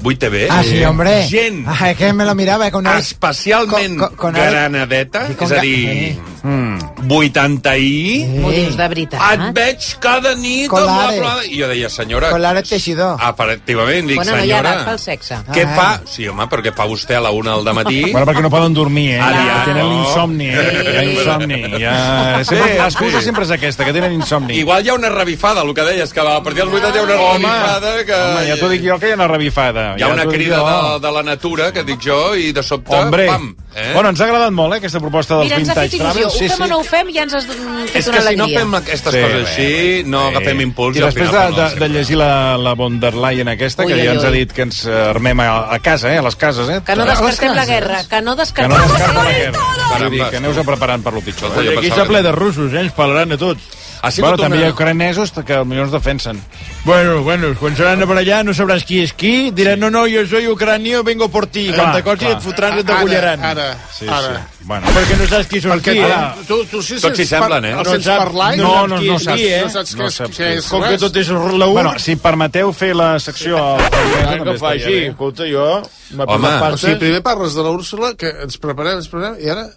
[SPEAKER 4] 8TV
[SPEAKER 22] Ah, sí, hombre.
[SPEAKER 4] gent
[SPEAKER 22] Ah, es que me lo miraba eh, con el...
[SPEAKER 4] especialment
[SPEAKER 22] con- con- con el-
[SPEAKER 4] granadeta,
[SPEAKER 22] I com
[SPEAKER 4] és a
[SPEAKER 22] que-
[SPEAKER 4] dir, mm, 80 i...
[SPEAKER 5] M'ho dius de veritat.
[SPEAKER 4] Et
[SPEAKER 16] Ah.
[SPEAKER 4] veig cada nit amb la
[SPEAKER 22] Colade.
[SPEAKER 4] plada. I jo deia, senyora...
[SPEAKER 22] Colare teixidor.
[SPEAKER 4] Ah, Efectivament, dic,
[SPEAKER 5] Bueno, no hi ha
[SPEAKER 4] senyora...
[SPEAKER 5] edat pel Ah. sexe.
[SPEAKER 4] Què fa? Sí, home, però què fa vostè a la una del matí?
[SPEAKER 3] Bueno, perquè no poden dormir, eh?
[SPEAKER 4] Aviat,
[SPEAKER 3] tenen
[SPEAKER 4] no.
[SPEAKER 3] l'insomni, eh? Hi ha insomni. Hi ha... Sempre,
[SPEAKER 4] Sí,
[SPEAKER 3] L'excusa
[SPEAKER 4] sí.
[SPEAKER 3] sempre és aquesta, que tenen insomni.
[SPEAKER 4] Igual hi ha una una revifada, el que deies, que a partir dels 80 hi ha una
[SPEAKER 3] Ah, Home,
[SPEAKER 4] revifada que...
[SPEAKER 3] Home, ja t'ho dic jo que hi ha una revifada.
[SPEAKER 4] Hi ha una
[SPEAKER 3] t'ho dic
[SPEAKER 4] crida
[SPEAKER 3] jo.
[SPEAKER 4] de, de la natura, que dic jo, i de sobte,
[SPEAKER 3] Hombre.
[SPEAKER 4] pam! Eh?
[SPEAKER 3] Bueno, ens ha agradat molt, eh, aquesta proposta dels
[SPEAKER 5] Mira, ens ha fet
[SPEAKER 3] Vintage Travels.
[SPEAKER 5] il·lusió. Ho fem o no ho fem, ja ens has mm, fet
[SPEAKER 4] és
[SPEAKER 5] una
[SPEAKER 4] que si no
[SPEAKER 5] alegria.
[SPEAKER 4] fem aquestes
[SPEAKER 3] Sí,
[SPEAKER 4] coses
[SPEAKER 3] bé,
[SPEAKER 4] així, no agafem impuls
[SPEAKER 3] I
[SPEAKER 4] al
[SPEAKER 3] després de,
[SPEAKER 4] final
[SPEAKER 3] de,
[SPEAKER 4] fa mal.
[SPEAKER 3] de llegir la, la von der Leyen aquesta, que
[SPEAKER 5] Ui,
[SPEAKER 3] ja
[SPEAKER 5] ui,
[SPEAKER 3] ens ha
[SPEAKER 5] ui.
[SPEAKER 3] dit que ens eh, armem a, a casa, eh, a les cases, eh?
[SPEAKER 5] Que no
[SPEAKER 3] A les
[SPEAKER 5] descartem la
[SPEAKER 3] cases.
[SPEAKER 5] guerra, que
[SPEAKER 3] Que
[SPEAKER 5] no
[SPEAKER 3] no
[SPEAKER 5] descartem la
[SPEAKER 3] descartem
[SPEAKER 5] guerra.
[SPEAKER 3] la guerra. Vull dir, que aneu-vos preparant per lo pitjor. eh?
[SPEAKER 4] Escolta, jo
[SPEAKER 21] Aquí
[SPEAKER 4] pensava
[SPEAKER 21] està
[SPEAKER 4] que-
[SPEAKER 21] ple de russos, eh? Ens parlaran de tot.
[SPEAKER 4] Ha sigut
[SPEAKER 3] Bueno, també hi
[SPEAKER 21] una-
[SPEAKER 3] ha ucranesos que potser ens defensen.
[SPEAKER 21] Bueno, bueno, quan seran de per allà no sabràs qui és qui, diran, no, no, jo soy ucranio, vengo por ti,
[SPEAKER 3] Clar,
[SPEAKER 21] quanta cosa i
[SPEAKER 3] clar.
[SPEAKER 21] et fotran que
[SPEAKER 3] Ara,
[SPEAKER 21] t'agullaran.
[SPEAKER 3] ara,
[SPEAKER 21] sí,
[SPEAKER 3] ara.
[SPEAKER 21] Sí.
[SPEAKER 3] Bueno.
[SPEAKER 21] Perquè no saps qui són
[SPEAKER 3] Perquè
[SPEAKER 21] qui,
[SPEAKER 3] tu-
[SPEAKER 21] eh?
[SPEAKER 3] tu- tu sí Tots saps s'hi semblen, eh?
[SPEAKER 21] No
[SPEAKER 3] els sents
[SPEAKER 21] saps-
[SPEAKER 3] parlar i no
[SPEAKER 21] no, no,
[SPEAKER 3] saps
[SPEAKER 21] no,
[SPEAKER 3] qui és
[SPEAKER 21] saps,
[SPEAKER 3] qui, eh?
[SPEAKER 21] no saps
[SPEAKER 3] No
[SPEAKER 21] què és,
[SPEAKER 3] saps
[SPEAKER 21] què
[SPEAKER 3] qui
[SPEAKER 21] és.
[SPEAKER 3] és.
[SPEAKER 21] Com que tot és la U, ah,
[SPEAKER 3] Bueno, si permeteu fer la secció... al programa,
[SPEAKER 21] que
[SPEAKER 3] també
[SPEAKER 21] fa
[SPEAKER 3] estaria
[SPEAKER 21] així,
[SPEAKER 3] bé.
[SPEAKER 21] escolta, jo... m'ha
[SPEAKER 3] Home.
[SPEAKER 21] posat
[SPEAKER 3] part,
[SPEAKER 21] parta.
[SPEAKER 3] eh?
[SPEAKER 12] o sigui, primer parles de la Úrsula, que ens preparem, ens preparem, i ara...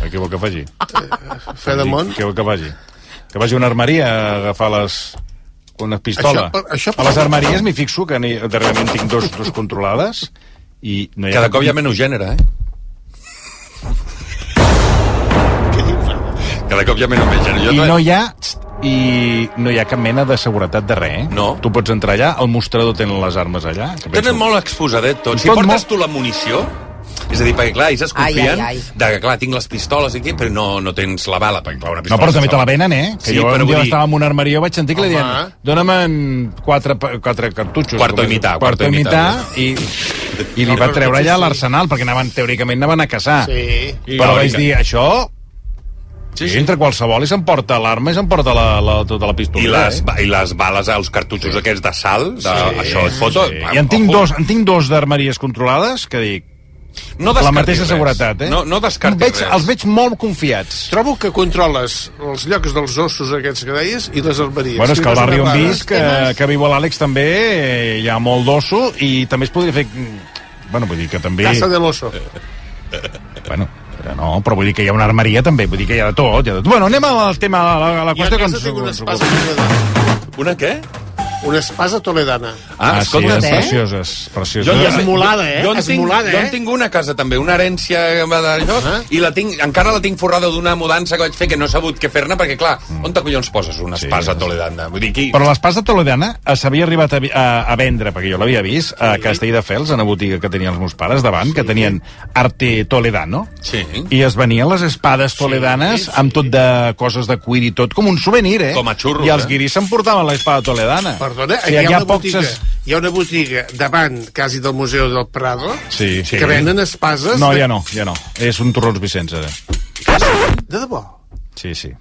[SPEAKER 3] Què vol que faci?
[SPEAKER 12] Fedemont.
[SPEAKER 3] Què vol que faci? Que vagi a una armeria a agafar les una
[SPEAKER 12] Això
[SPEAKER 3] pistola.
[SPEAKER 12] per- això per-
[SPEAKER 3] a les armeries m'hi fixo, que n'hi- darrerament tinc dos, dos controlades, i no hi ha...
[SPEAKER 4] Cada cop hi ha menys gènere, eh? Cada cop hi ha menys gènere. Jo
[SPEAKER 3] I
[SPEAKER 4] també-
[SPEAKER 3] no hi ha i no hi ha cap mena de seguretat de res, eh? No. Tu pots entrar allà, el mostrador tenen les armes allà. Que
[SPEAKER 4] Tenen molt exposadet tot. Si
[SPEAKER 3] Tot
[SPEAKER 4] portes
[SPEAKER 3] molt.
[SPEAKER 4] tu la munició, és a dir, perquè clar, ells es
[SPEAKER 3] Ai,
[SPEAKER 4] confien
[SPEAKER 3] ai, ai.
[SPEAKER 4] de que clar, tinc les pistoles aquí, però no, no tens la bala, perquè clar, una
[SPEAKER 3] No,
[SPEAKER 4] pistola...
[SPEAKER 3] però també te la venen, eh? Que
[SPEAKER 4] Sí,
[SPEAKER 3] jo
[SPEAKER 4] però
[SPEAKER 3] un dia
[SPEAKER 4] vull dir-
[SPEAKER 3] estava en una armeria i vaig sentir que li
[SPEAKER 4] Home.
[SPEAKER 3] deien dona'm en quatre, pa- quatre cartutxos.
[SPEAKER 4] Quarto
[SPEAKER 3] com
[SPEAKER 4] i
[SPEAKER 3] és?
[SPEAKER 4] mitad, quarto
[SPEAKER 3] Quarto
[SPEAKER 4] i
[SPEAKER 3] i mità.
[SPEAKER 4] mitad.
[SPEAKER 3] I, i li
[SPEAKER 4] No,
[SPEAKER 3] va
[SPEAKER 4] però
[SPEAKER 3] treure allà
[SPEAKER 4] sí.
[SPEAKER 3] l'arsenal, perquè anaven, teòricament anaven a caçar.
[SPEAKER 12] Sí.
[SPEAKER 3] Però vaig dir, això... Sí, sí. Entra qualsevol i s'emporta l'arma i s'emporta la, la, tota la pistola.
[SPEAKER 4] I les,
[SPEAKER 3] eh?
[SPEAKER 4] ba- I les bales, els cartutxos sí. aquests de sal, de, sí. això et foto... Sí.
[SPEAKER 3] I en tinc dos, en tinc dos d'armeries controlades que dic...
[SPEAKER 4] No
[SPEAKER 3] la
[SPEAKER 4] descartis
[SPEAKER 3] mateixa
[SPEAKER 4] res.
[SPEAKER 3] seguretat, eh?
[SPEAKER 4] No- no descartis
[SPEAKER 3] veig,
[SPEAKER 4] res.
[SPEAKER 3] Els veig molt confiats.
[SPEAKER 12] Trobo que controles els llocs dels ossos aquests que deies i les armeries.
[SPEAKER 3] Bueno, és que al
[SPEAKER 12] I les
[SPEAKER 3] barri on
[SPEAKER 12] armades.
[SPEAKER 3] visc, que, que viu l'Àlex també, eh, hi ha molt d'osso i també es podria fer... mm, Bueno, vull dir que també...
[SPEAKER 12] Casa de l'oso.
[SPEAKER 3] Bueno, però no, però vull dir que hi ha una armeria també, vull dir que hi ha de tot. Hi ha de tot. Bueno, anem al tema, a la, a
[SPEAKER 12] I
[SPEAKER 3] la
[SPEAKER 12] a
[SPEAKER 3] qüestió que
[SPEAKER 12] casa
[SPEAKER 3] ens...
[SPEAKER 12] tinc una espasa toledana.
[SPEAKER 4] Una què?
[SPEAKER 12] Una espasa toledana.
[SPEAKER 4] Ah, escolta,
[SPEAKER 3] sí,
[SPEAKER 4] eh?
[SPEAKER 3] precioses, precioses.
[SPEAKER 4] Jo,
[SPEAKER 12] I
[SPEAKER 4] jo,
[SPEAKER 12] esmolada, eh?
[SPEAKER 4] Jo en, tinc,
[SPEAKER 12] Esmolada,
[SPEAKER 4] jo
[SPEAKER 12] eh?
[SPEAKER 4] en tinc una casa també, una herència d'això, uh
[SPEAKER 12] Ah.
[SPEAKER 4] i la tinc, encara la tinc forrada d'una mudança que vaig fer que no he sabut què fer-ne, perquè clar, on te collons poses una espasa sí, toledana? Vull dir, aquí...
[SPEAKER 3] Mm. Però l'espasa toledana eh, s'havia arribat a, vi- a, a vendre, perquè jo l'havia vist, a Castelldefels, en una botiga que tenien els meus pares davant, sí. que tenien arte toledano,
[SPEAKER 4] Sí.
[SPEAKER 3] i es venien les espades toledanes sí, sí. amb tot de coses de cuir i tot, com un souvenir, eh?
[SPEAKER 4] Com a xurros,
[SPEAKER 3] I els
[SPEAKER 4] eh?
[SPEAKER 3] guiris s'emportaven l'espada toledana.
[SPEAKER 12] Perdona,
[SPEAKER 3] O sigui,
[SPEAKER 12] aquí hi
[SPEAKER 3] hi
[SPEAKER 12] ha,
[SPEAKER 3] ha
[SPEAKER 12] una botiga,
[SPEAKER 3] pocs-
[SPEAKER 12] hi ha una botiga davant quasi del Museu del Prado
[SPEAKER 3] Sí, sí.
[SPEAKER 12] que venen espases...
[SPEAKER 3] No,
[SPEAKER 12] de-
[SPEAKER 3] ja no, ja no. És un torrons Vicenç, ara.
[SPEAKER 12] De debò.
[SPEAKER 3] Sí, sí.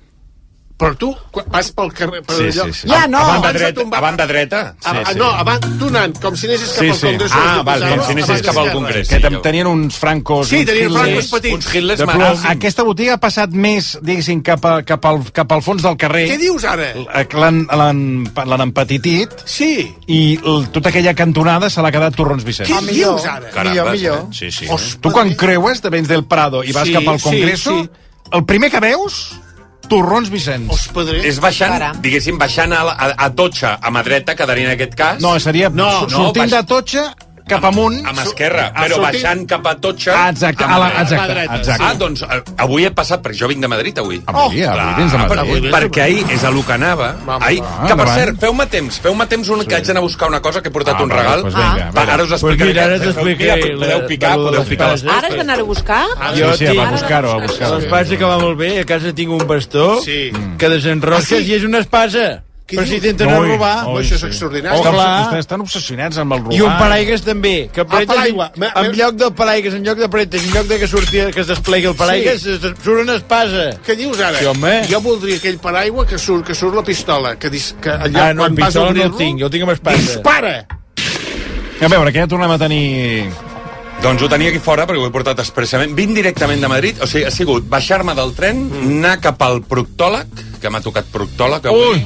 [SPEAKER 12] Però tu quan vas pel carrer... Per
[SPEAKER 3] Sí,
[SPEAKER 12] allò-
[SPEAKER 3] sí, sí.
[SPEAKER 16] Ah,
[SPEAKER 3] Ja no!
[SPEAKER 12] Ah, Abans
[SPEAKER 3] A banda
[SPEAKER 12] de
[SPEAKER 3] dreta,
[SPEAKER 12] tombar-
[SPEAKER 4] a banda dreta.
[SPEAKER 12] A-
[SPEAKER 3] Sí,
[SPEAKER 12] a-
[SPEAKER 3] sí.
[SPEAKER 12] No, abans, tu anant, com si anessis cap al Congrés...
[SPEAKER 3] Ah, val, com si anessis cap al Congrés. Que tam- tenien uns francos...
[SPEAKER 12] Sí,
[SPEAKER 3] uns
[SPEAKER 12] tenien
[SPEAKER 3] Hitlers,
[SPEAKER 12] francos petits. Uns Hitlers
[SPEAKER 3] de
[SPEAKER 12] marats.
[SPEAKER 3] plom. Aquesta botiga ha passat més, diguéssim, cap, a, cap, al, cap al fons del carrer.
[SPEAKER 12] Què dius ara?
[SPEAKER 3] Eh, que L'han l'han- l'han empetitit.
[SPEAKER 12] Sí.
[SPEAKER 3] I l- tota aquella cantonada se l'ha quedat Torrons Vicenç.
[SPEAKER 12] Què Ah, millor. dius ara? Millor, millor.
[SPEAKER 3] Sí, sí. tu quan creues de Vents del Prado i vas
[SPEAKER 12] Sí,
[SPEAKER 3] cap al
[SPEAKER 12] sí,
[SPEAKER 3] Congreso,
[SPEAKER 12] sí.
[SPEAKER 3] el primer que veus, Torrons Vicenç.
[SPEAKER 12] Hospodrés.
[SPEAKER 4] És baixant, diguéssim, baixant a, la- a, a Totxa, a mà dreta, quedaria en aquest cas...
[SPEAKER 3] No, seria no, sortint
[SPEAKER 4] baix-
[SPEAKER 3] no, de Totxa cap amunt.
[SPEAKER 4] amb esquerra,
[SPEAKER 3] Ah,
[SPEAKER 4] però
[SPEAKER 3] sortint-
[SPEAKER 4] baixant cap a Totxa...
[SPEAKER 3] Ah, exacte,
[SPEAKER 4] amb
[SPEAKER 3] a la-
[SPEAKER 4] dreta. Oh,
[SPEAKER 3] exacte, Amb dreta, exacte. Ah,
[SPEAKER 4] Ah, doncs eh, avui he passat, perquè jo vinc de Madrid, avui.
[SPEAKER 3] Avui, avui vens de Madrid.
[SPEAKER 4] per-
[SPEAKER 3] Avui vens de
[SPEAKER 4] perquè ahir és a lo que anava.
[SPEAKER 3] Vamos,
[SPEAKER 4] ahir,
[SPEAKER 3] va,
[SPEAKER 4] que, per
[SPEAKER 3] endavant.
[SPEAKER 4] cert, feu-me temps, feu-me temps un, que haig d'anar a buscar una cosa, que he portat
[SPEAKER 3] Ah,
[SPEAKER 4] un
[SPEAKER 3] vale,
[SPEAKER 4] regal.
[SPEAKER 3] doncs vinga,
[SPEAKER 4] va,
[SPEAKER 3] vinga.
[SPEAKER 4] ara us
[SPEAKER 3] Doncs
[SPEAKER 4] explicaré.
[SPEAKER 3] mira, ara
[SPEAKER 4] que-
[SPEAKER 3] t'explicaré
[SPEAKER 4] mira,
[SPEAKER 3] la-
[SPEAKER 4] podeu picar,
[SPEAKER 3] la-
[SPEAKER 4] podeu
[SPEAKER 3] la-
[SPEAKER 4] picar. les-
[SPEAKER 5] Ara has d'anar a buscar?
[SPEAKER 3] Jo sí, sí, va a buscar-ho, a
[SPEAKER 21] Ara
[SPEAKER 3] buscar-ho.
[SPEAKER 21] L'espasa que va molt bé, a casa tinc un bastó
[SPEAKER 12] sí.
[SPEAKER 21] que desenrosques
[SPEAKER 12] Ah, sí?
[SPEAKER 21] i és una espasa.
[SPEAKER 12] Què
[SPEAKER 21] per
[SPEAKER 12] diu?
[SPEAKER 21] si t'entren a
[SPEAKER 3] Ui,
[SPEAKER 21] robar.
[SPEAKER 3] ui, Això és sí. extraordinari.
[SPEAKER 21] Oh,
[SPEAKER 3] Estan-
[SPEAKER 21] clar.
[SPEAKER 3] Vostès estan obsessionats amb el robar.
[SPEAKER 21] I un paraigües també. Que apretes,
[SPEAKER 12] paraigua.
[SPEAKER 21] i- En lloc del paraigües, en lloc de pretes, en lloc de que, surti, que es desplegui el paraigües,
[SPEAKER 12] Sí.
[SPEAKER 21] sí. surt una espasa.
[SPEAKER 12] Què dius ara?
[SPEAKER 21] Sí, home.
[SPEAKER 12] Jo voldria aquell paraigua que surt, que surt la pistola, que, dis, que allà
[SPEAKER 21] Ah, no,
[SPEAKER 12] quan
[SPEAKER 21] amb
[SPEAKER 12] vas a
[SPEAKER 21] pistola no
[SPEAKER 12] obrir-lo...
[SPEAKER 21] el tinc, jo el tinc amb espasa.
[SPEAKER 12] Dispara!
[SPEAKER 3] A veure, que ja tornem a tenir...
[SPEAKER 4] Doncs ho tenia aquí fora perquè ho he portat expressament. Vinc directament de Madrid, o sigui, ha sigut baixar-me del tren,
[SPEAKER 3] Mm.
[SPEAKER 4] anar cap al proctòleg, que m'ha tocat proctòleg avui, Ui,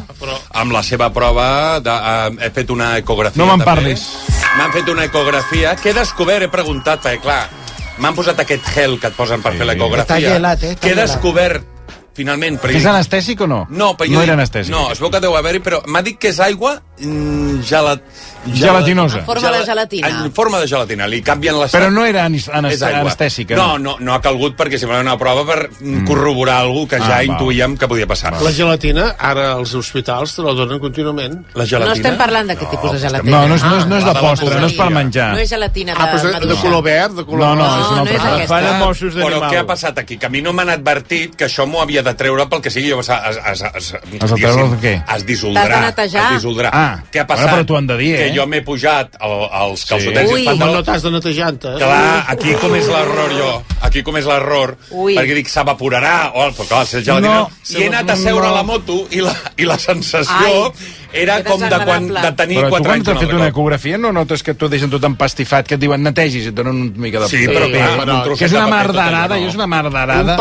[SPEAKER 4] amb la seva prova, de, eh, he fet una ecografia.
[SPEAKER 3] No me'n
[SPEAKER 4] també.
[SPEAKER 3] parlis.
[SPEAKER 4] M'han fet una ecografia que he descobert, he preguntat, perquè clar, m'han posat aquest gel que et posen per fer l'ecografia.
[SPEAKER 3] Està gelat, eh? Està
[SPEAKER 4] Que he
[SPEAKER 3] gelat.
[SPEAKER 4] descobert, finalment, perquè
[SPEAKER 3] És anestèsic o no?
[SPEAKER 4] no, però jo
[SPEAKER 3] no
[SPEAKER 4] dic-
[SPEAKER 3] era anestèsic.
[SPEAKER 4] No, es veu que deu haver-hi, però m'ha dit que és aigua mm, gelat...
[SPEAKER 3] Gelatinosa. En
[SPEAKER 5] forma de gelatina.
[SPEAKER 4] En forma de gelatina. Li canvien les...
[SPEAKER 3] Però no era anis- anes-
[SPEAKER 4] És aigua.
[SPEAKER 3] anestèsica.
[SPEAKER 4] No, no, no ha calgut perquè simplement era una prova per mm. corroborar alguna que ja
[SPEAKER 12] Ah,
[SPEAKER 4] ah,
[SPEAKER 12] val.
[SPEAKER 4] intuïem que podia passar.
[SPEAKER 12] La gelatina, ara als hospitals te la donen contínuament.
[SPEAKER 4] La
[SPEAKER 5] No estem parlant de què tipus de gelatina.
[SPEAKER 3] No, no és- no és- no és de postre, no és per menjar.
[SPEAKER 5] No és gelatina de
[SPEAKER 12] Ah, però és de, de
[SPEAKER 5] maduixa.
[SPEAKER 12] color verd, de color...
[SPEAKER 3] No, no, és una
[SPEAKER 5] no és
[SPEAKER 3] altra.
[SPEAKER 5] aquesta. Fan amb ossos
[SPEAKER 4] Però
[SPEAKER 5] d'animal.
[SPEAKER 4] què ha passat aquí? Que a mi no m'han advertit que això m'ho havia de treure pel que sigui. Jo, es, es, es, es,
[SPEAKER 3] Has de treure el què?
[SPEAKER 4] Es dissoldrà.
[SPEAKER 5] T'has de netejar?
[SPEAKER 4] Es dissoldrà.
[SPEAKER 3] Ah,
[SPEAKER 4] què ha
[SPEAKER 3] bueno,
[SPEAKER 4] passat?
[SPEAKER 3] però t'ho han de dir,
[SPEAKER 4] que
[SPEAKER 3] eh?
[SPEAKER 4] jo m'he pujat el, els calçotets i els
[SPEAKER 12] Home, no
[SPEAKER 4] pantalons.
[SPEAKER 12] t'has de netejar-te. eh?
[SPEAKER 4] Clar, aquí com és l'error jo. Aquí com és l'error.
[SPEAKER 12] Ui.
[SPEAKER 4] Perquè dic, s'evaporarà. Oh, però clar, si és gelatina...
[SPEAKER 12] No,
[SPEAKER 4] No, I he anat a seure a la moto i la, i la sensació
[SPEAKER 12] Ai,
[SPEAKER 4] Ai, era
[SPEAKER 12] que
[SPEAKER 4] com de, quan,
[SPEAKER 12] desagradable.
[SPEAKER 4] de tenir
[SPEAKER 3] Però tu
[SPEAKER 4] 4
[SPEAKER 3] quan
[SPEAKER 4] anys
[SPEAKER 3] t'has
[SPEAKER 4] un
[SPEAKER 3] fet
[SPEAKER 4] altre
[SPEAKER 3] una
[SPEAKER 4] cop.
[SPEAKER 3] ecografia no notes que t'ho deixen tot empastifat, que et diuen netegis i et donen una mica de...
[SPEAKER 4] Sí,
[SPEAKER 3] de
[SPEAKER 4] però
[SPEAKER 3] paper.
[SPEAKER 4] clar, un trosset
[SPEAKER 3] que és una
[SPEAKER 4] de paper tot
[SPEAKER 3] mardarada,
[SPEAKER 4] allò,
[SPEAKER 3] i
[SPEAKER 4] no.
[SPEAKER 3] és una mardarada.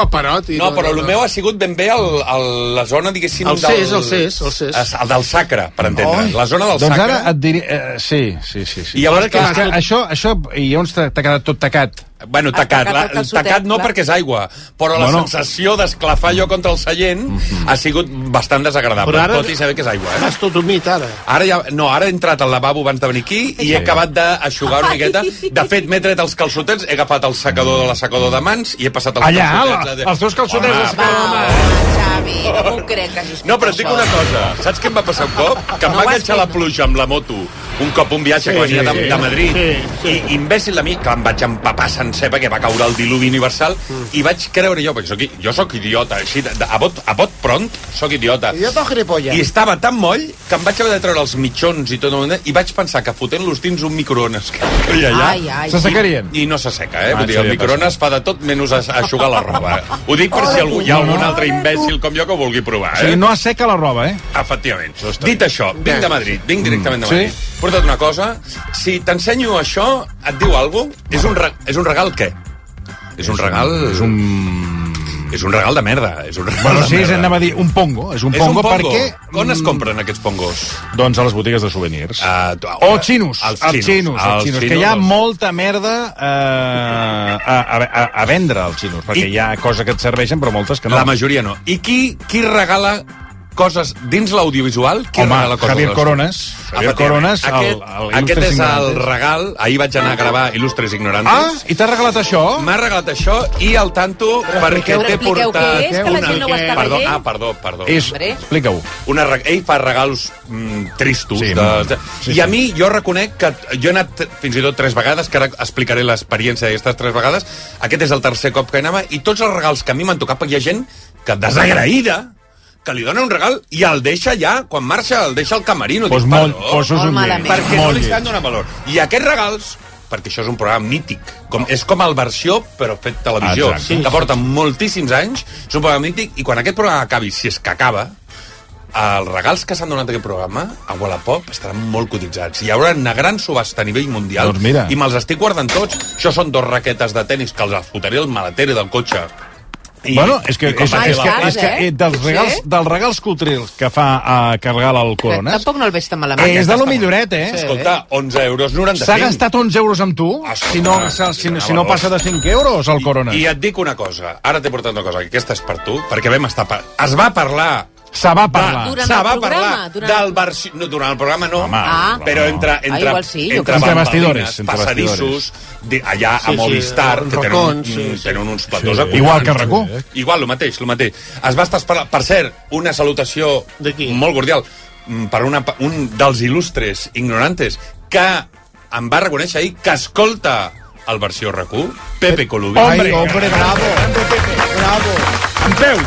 [SPEAKER 4] No, però el meu ha sigut ben bé el, el, la zona, diguéssim...
[SPEAKER 12] El
[SPEAKER 4] del-
[SPEAKER 12] CES, el CES, el CES.
[SPEAKER 4] Es- El del sacre, per entendre. La zona del
[SPEAKER 3] doncs
[SPEAKER 4] sacre...
[SPEAKER 3] ara et diré... Eh, sí, sí, sí, sí.
[SPEAKER 4] I llavors,
[SPEAKER 3] que,
[SPEAKER 4] clar,
[SPEAKER 3] és que
[SPEAKER 4] escolta-
[SPEAKER 3] això, això, i on t'ha t'ha quedat tot tacat?
[SPEAKER 4] Bueno, tacat,
[SPEAKER 3] tacat
[SPEAKER 4] la,
[SPEAKER 3] el calçotet,
[SPEAKER 4] tacat no
[SPEAKER 3] clar.
[SPEAKER 4] perquè és aigua, però la
[SPEAKER 3] Bueno. Mm-hmm.
[SPEAKER 4] sensació d'esclafar allò contra el seient ha sigut bastant desagradable,
[SPEAKER 12] Però ara-
[SPEAKER 4] tot i saber que és aigua. Eh?
[SPEAKER 12] Estàs tot humit, ara.
[SPEAKER 4] Ara ja, no, ara he entrat al lavabo abans de venir aquí i
[SPEAKER 12] Sí.
[SPEAKER 4] he acabat d'aixugar una miqueta. De fet, m'he tret els calçotets, he agafat el secador de la secador de mans i he passat els
[SPEAKER 3] Allà,
[SPEAKER 4] calçotets. Ah,
[SPEAKER 3] la- els teus calçotets
[SPEAKER 4] Home,
[SPEAKER 3] de secador de mans.
[SPEAKER 5] Xavi, no m'ho crec que hagis fet
[SPEAKER 4] No, però et dic
[SPEAKER 5] això.
[SPEAKER 4] una cosa. Saps què em va passar un cop? Que em
[SPEAKER 5] No
[SPEAKER 4] va
[SPEAKER 5] ho has
[SPEAKER 4] enganxar la pluja amb la moto un cop un viatge
[SPEAKER 12] Sí,
[SPEAKER 4] que venia
[SPEAKER 12] sí,
[SPEAKER 4] de,
[SPEAKER 12] sí.
[SPEAKER 4] de Madrid.
[SPEAKER 12] Sí,
[SPEAKER 4] I imbècil de mi, que em vaig empapar sencer perquè va caure el diluvi universal
[SPEAKER 12] Mm.
[SPEAKER 4] i vaig creure jo, perquè soc, i- jo sóc idiota, així, de, de, a, bot, a bot pront sóc idiota.
[SPEAKER 12] Idiota gilipollas.
[SPEAKER 4] I estava tan moll que em vaig haver de treure els mitjons i tot el moment, i vaig pensar que fotent-los dins un microones que hi havia allà...
[SPEAKER 12] Ai, ai. S'assecarien?
[SPEAKER 4] I, I no s'asseca, eh?
[SPEAKER 3] Ah,
[SPEAKER 4] Vull dir,
[SPEAKER 3] això
[SPEAKER 4] el
[SPEAKER 3] ja
[SPEAKER 4] microones fa de tot menys a- a aixugar la roba. Ho dic per si algú, hi ha algun altre imbècil com jo que ho vulgui provar,
[SPEAKER 3] O
[SPEAKER 4] eh?
[SPEAKER 3] sigui, no asseca la roba, eh?
[SPEAKER 4] Efectivament. Dit això, vinc de Madrid, vinc directament de
[SPEAKER 3] Sí?
[SPEAKER 4] Madrid. Sí? Porta't una cosa, si t'ensenyo això, et diu alguna cosa? És un, re és un regal què? És un regal... És un... És un regal de merda. És un regal
[SPEAKER 3] Bueno,
[SPEAKER 4] de
[SPEAKER 3] sí,
[SPEAKER 4] merda.
[SPEAKER 3] anava a dir un pongo. És un pongo, perquè...
[SPEAKER 4] On es compren aquests pongos?
[SPEAKER 3] Doncs a les botigues de souvenirs.
[SPEAKER 4] Uh,
[SPEAKER 3] O xinos, els xinos, els xinos,
[SPEAKER 4] els
[SPEAKER 3] que hi ha
[SPEAKER 4] xinos.
[SPEAKER 3] molta merda eh, a, a, a, a vendre als xinos, perquè
[SPEAKER 4] I-
[SPEAKER 3] hi ha coses que et serveixen, però moltes que no.
[SPEAKER 4] La majoria no. I qui, qui regala coses dins l'audiovisual? Qui
[SPEAKER 3] Home,
[SPEAKER 4] regala coses?
[SPEAKER 3] Javier
[SPEAKER 4] als-
[SPEAKER 3] Coronas. Javier
[SPEAKER 4] Efectivament.
[SPEAKER 3] Coronas, el-
[SPEAKER 4] Aquest,
[SPEAKER 3] el
[SPEAKER 4] aquest
[SPEAKER 3] Il·lustres
[SPEAKER 4] és el
[SPEAKER 3] Ignorantes.
[SPEAKER 4] regal. Ahir vaig anar a gravar Il·lustres Ignorantes.
[SPEAKER 3] Ah, i t'ha regalat això?
[SPEAKER 4] M'ha regalat això i el tanto perquè t'he
[SPEAKER 5] expliqueu
[SPEAKER 4] portat...
[SPEAKER 5] què és, que la gent no ho està
[SPEAKER 4] perdó,
[SPEAKER 5] veient.
[SPEAKER 4] ah, perdó, perdó.
[SPEAKER 3] És, explica-ho.
[SPEAKER 4] Una, re- ell fa regals mm, tristos. Sí,
[SPEAKER 3] Sí, molt.
[SPEAKER 4] de,
[SPEAKER 3] Sí,
[SPEAKER 4] sí, I
[SPEAKER 3] sí.
[SPEAKER 4] a mi jo reconec que jo he anat fins i tot tres vegades, que ara explicaré l'experiència d'aquestes tres vegades. Aquest és el tercer cop que hi anava i tots els regals que a mi m'han tocat, perquè hi ha gent que desagraïda que li dona un regal i el deixa ja, quan marxa, el deixa al camerino.
[SPEAKER 3] Pues
[SPEAKER 4] Dic,
[SPEAKER 3] molt-
[SPEAKER 4] perdó,
[SPEAKER 3] pues és un Molt lleig, malament.
[SPEAKER 4] Perquè no
[SPEAKER 3] molt
[SPEAKER 4] li estan
[SPEAKER 3] lleig.
[SPEAKER 4] donant valor. I aquests regals, perquè això és un programa mític, com, és com el versió, però fet televisió,
[SPEAKER 3] Exacte. Sí,
[SPEAKER 4] que porta moltíssims anys, és un programa mític, i quan aquest programa acabi, si és que acaba, els regals que s'han donat a aquest programa a Wallapop estaran molt cotitzats. Hi haurà una gran subhasta a nivell mundial
[SPEAKER 3] Doncs mira.
[SPEAKER 4] i me'ls estic guardant tots. Això són dos raquetes de tennis que els fotré al maletere del cotxe. I,
[SPEAKER 3] bueno, és que,
[SPEAKER 4] i quan
[SPEAKER 3] és,
[SPEAKER 4] vagi
[SPEAKER 3] és,
[SPEAKER 4] la
[SPEAKER 3] que,
[SPEAKER 4] plaça-
[SPEAKER 3] és que eh, dels, regals, dels regals culturals que fa a carregar el Coronas,
[SPEAKER 5] Tampoc no el veig tan malament.
[SPEAKER 3] eh, és de lo milloret, eh?
[SPEAKER 4] Escolta, 11 euros 95.
[SPEAKER 3] S'ha gastat 11 euros amb tu,
[SPEAKER 4] Ah,
[SPEAKER 3] si no, si, si,
[SPEAKER 4] quina
[SPEAKER 3] si no
[SPEAKER 4] valor.
[SPEAKER 3] passa de 5 euros, el Coronas.
[SPEAKER 4] I et dic una cosa, ara t'he portat una cosa, que aquesta és per tu, perquè vam estar... Pa... Es va parlar
[SPEAKER 3] Se va parlar.
[SPEAKER 4] Va,
[SPEAKER 5] Durant
[SPEAKER 4] se
[SPEAKER 5] el
[SPEAKER 4] va
[SPEAKER 5] programa,
[SPEAKER 4] parlar
[SPEAKER 5] durant
[SPEAKER 4] del versió... No, durant el programa no, Home,
[SPEAKER 5] Ah.
[SPEAKER 4] però entre,
[SPEAKER 5] Ah,
[SPEAKER 4] entre,
[SPEAKER 5] igual sí, jo
[SPEAKER 4] entre,
[SPEAKER 5] crec.
[SPEAKER 3] Entre bastidors,
[SPEAKER 4] bastidores,
[SPEAKER 3] entre
[SPEAKER 4] passadissos, de, allà
[SPEAKER 3] Sí,
[SPEAKER 4] a
[SPEAKER 3] sí,
[SPEAKER 4] Movistar,
[SPEAKER 3] en
[SPEAKER 4] que tenen,
[SPEAKER 3] racons,
[SPEAKER 4] sí, tenen uns platós sí.
[SPEAKER 3] Igual que RAC1.
[SPEAKER 4] Igual, el mateix, el mateix. Es va estar esperant... Per cert, una salutació molt cordial mm, per una, pa- un dels il·lustres ignorantes que em va reconèixer ahir que escolta el versió RAC1, Pepe Colubi.
[SPEAKER 2] Hombre, hombre, bravo. Bravo.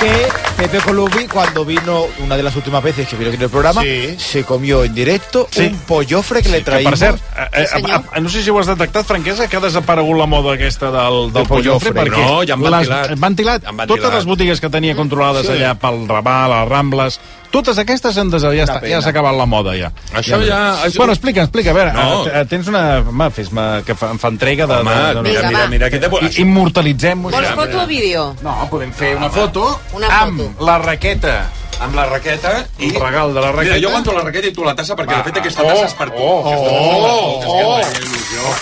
[SPEAKER 2] Que Pepe Colubi, cuando vino una de las últimas veces que vino aquí en el programa, se comió en directo un pollofre que le
[SPEAKER 3] Que,
[SPEAKER 2] traímos.
[SPEAKER 3] per cert, eh, eh, a, a, no sé si ho has detectat, Franquesa, que ha desaparegut la moda aquesta del, del
[SPEAKER 2] Del
[SPEAKER 3] pollofre,
[SPEAKER 2] pollofre.
[SPEAKER 3] perquè
[SPEAKER 4] No, ja han ventilat. Han
[SPEAKER 3] Les, ventilat. Han
[SPEAKER 4] ventilat.
[SPEAKER 3] ventilat. Totes les botigues que tenia controlades
[SPEAKER 4] Sí.
[SPEAKER 3] sí. allà pel Raval, a Rambles, totes aquestes han des... ja, està,
[SPEAKER 4] pena.
[SPEAKER 3] ja s'ha acabat la moda, ja.
[SPEAKER 4] Això ja- això-
[SPEAKER 3] Bueno, explica, explica, a veure,
[SPEAKER 4] No.
[SPEAKER 3] no. tens una... Va, fes-me, que fa, em fa entrega de...
[SPEAKER 4] Home,
[SPEAKER 3] de, de,
[SPEAKER 4] mira, mira, mira, que te...
[SPEAKER 3] I- Immortalitzem-ho.
[SPEAKER 5] Vols foto o vídeo?
[SPEAKER 3] No, podem fer una foto
[SPEAKER 5] Una foto.
[SPEAKER 3] La raqueta.
[SPEAKER 4] Amb la raqueta i...
[SPEAKER 3] El regal de la raqueta.
[SPEAKER 4] Mira, jo aguanto la raqueta i tu la tassa perquè, de fet, aquesta
[SPEAKER 3] oh,
[SPEAKER 4] tassa és per tu.
[SPEAKER 3] oh,
[SPEAKER 4] oh,
[SPEAKER 12] Oh,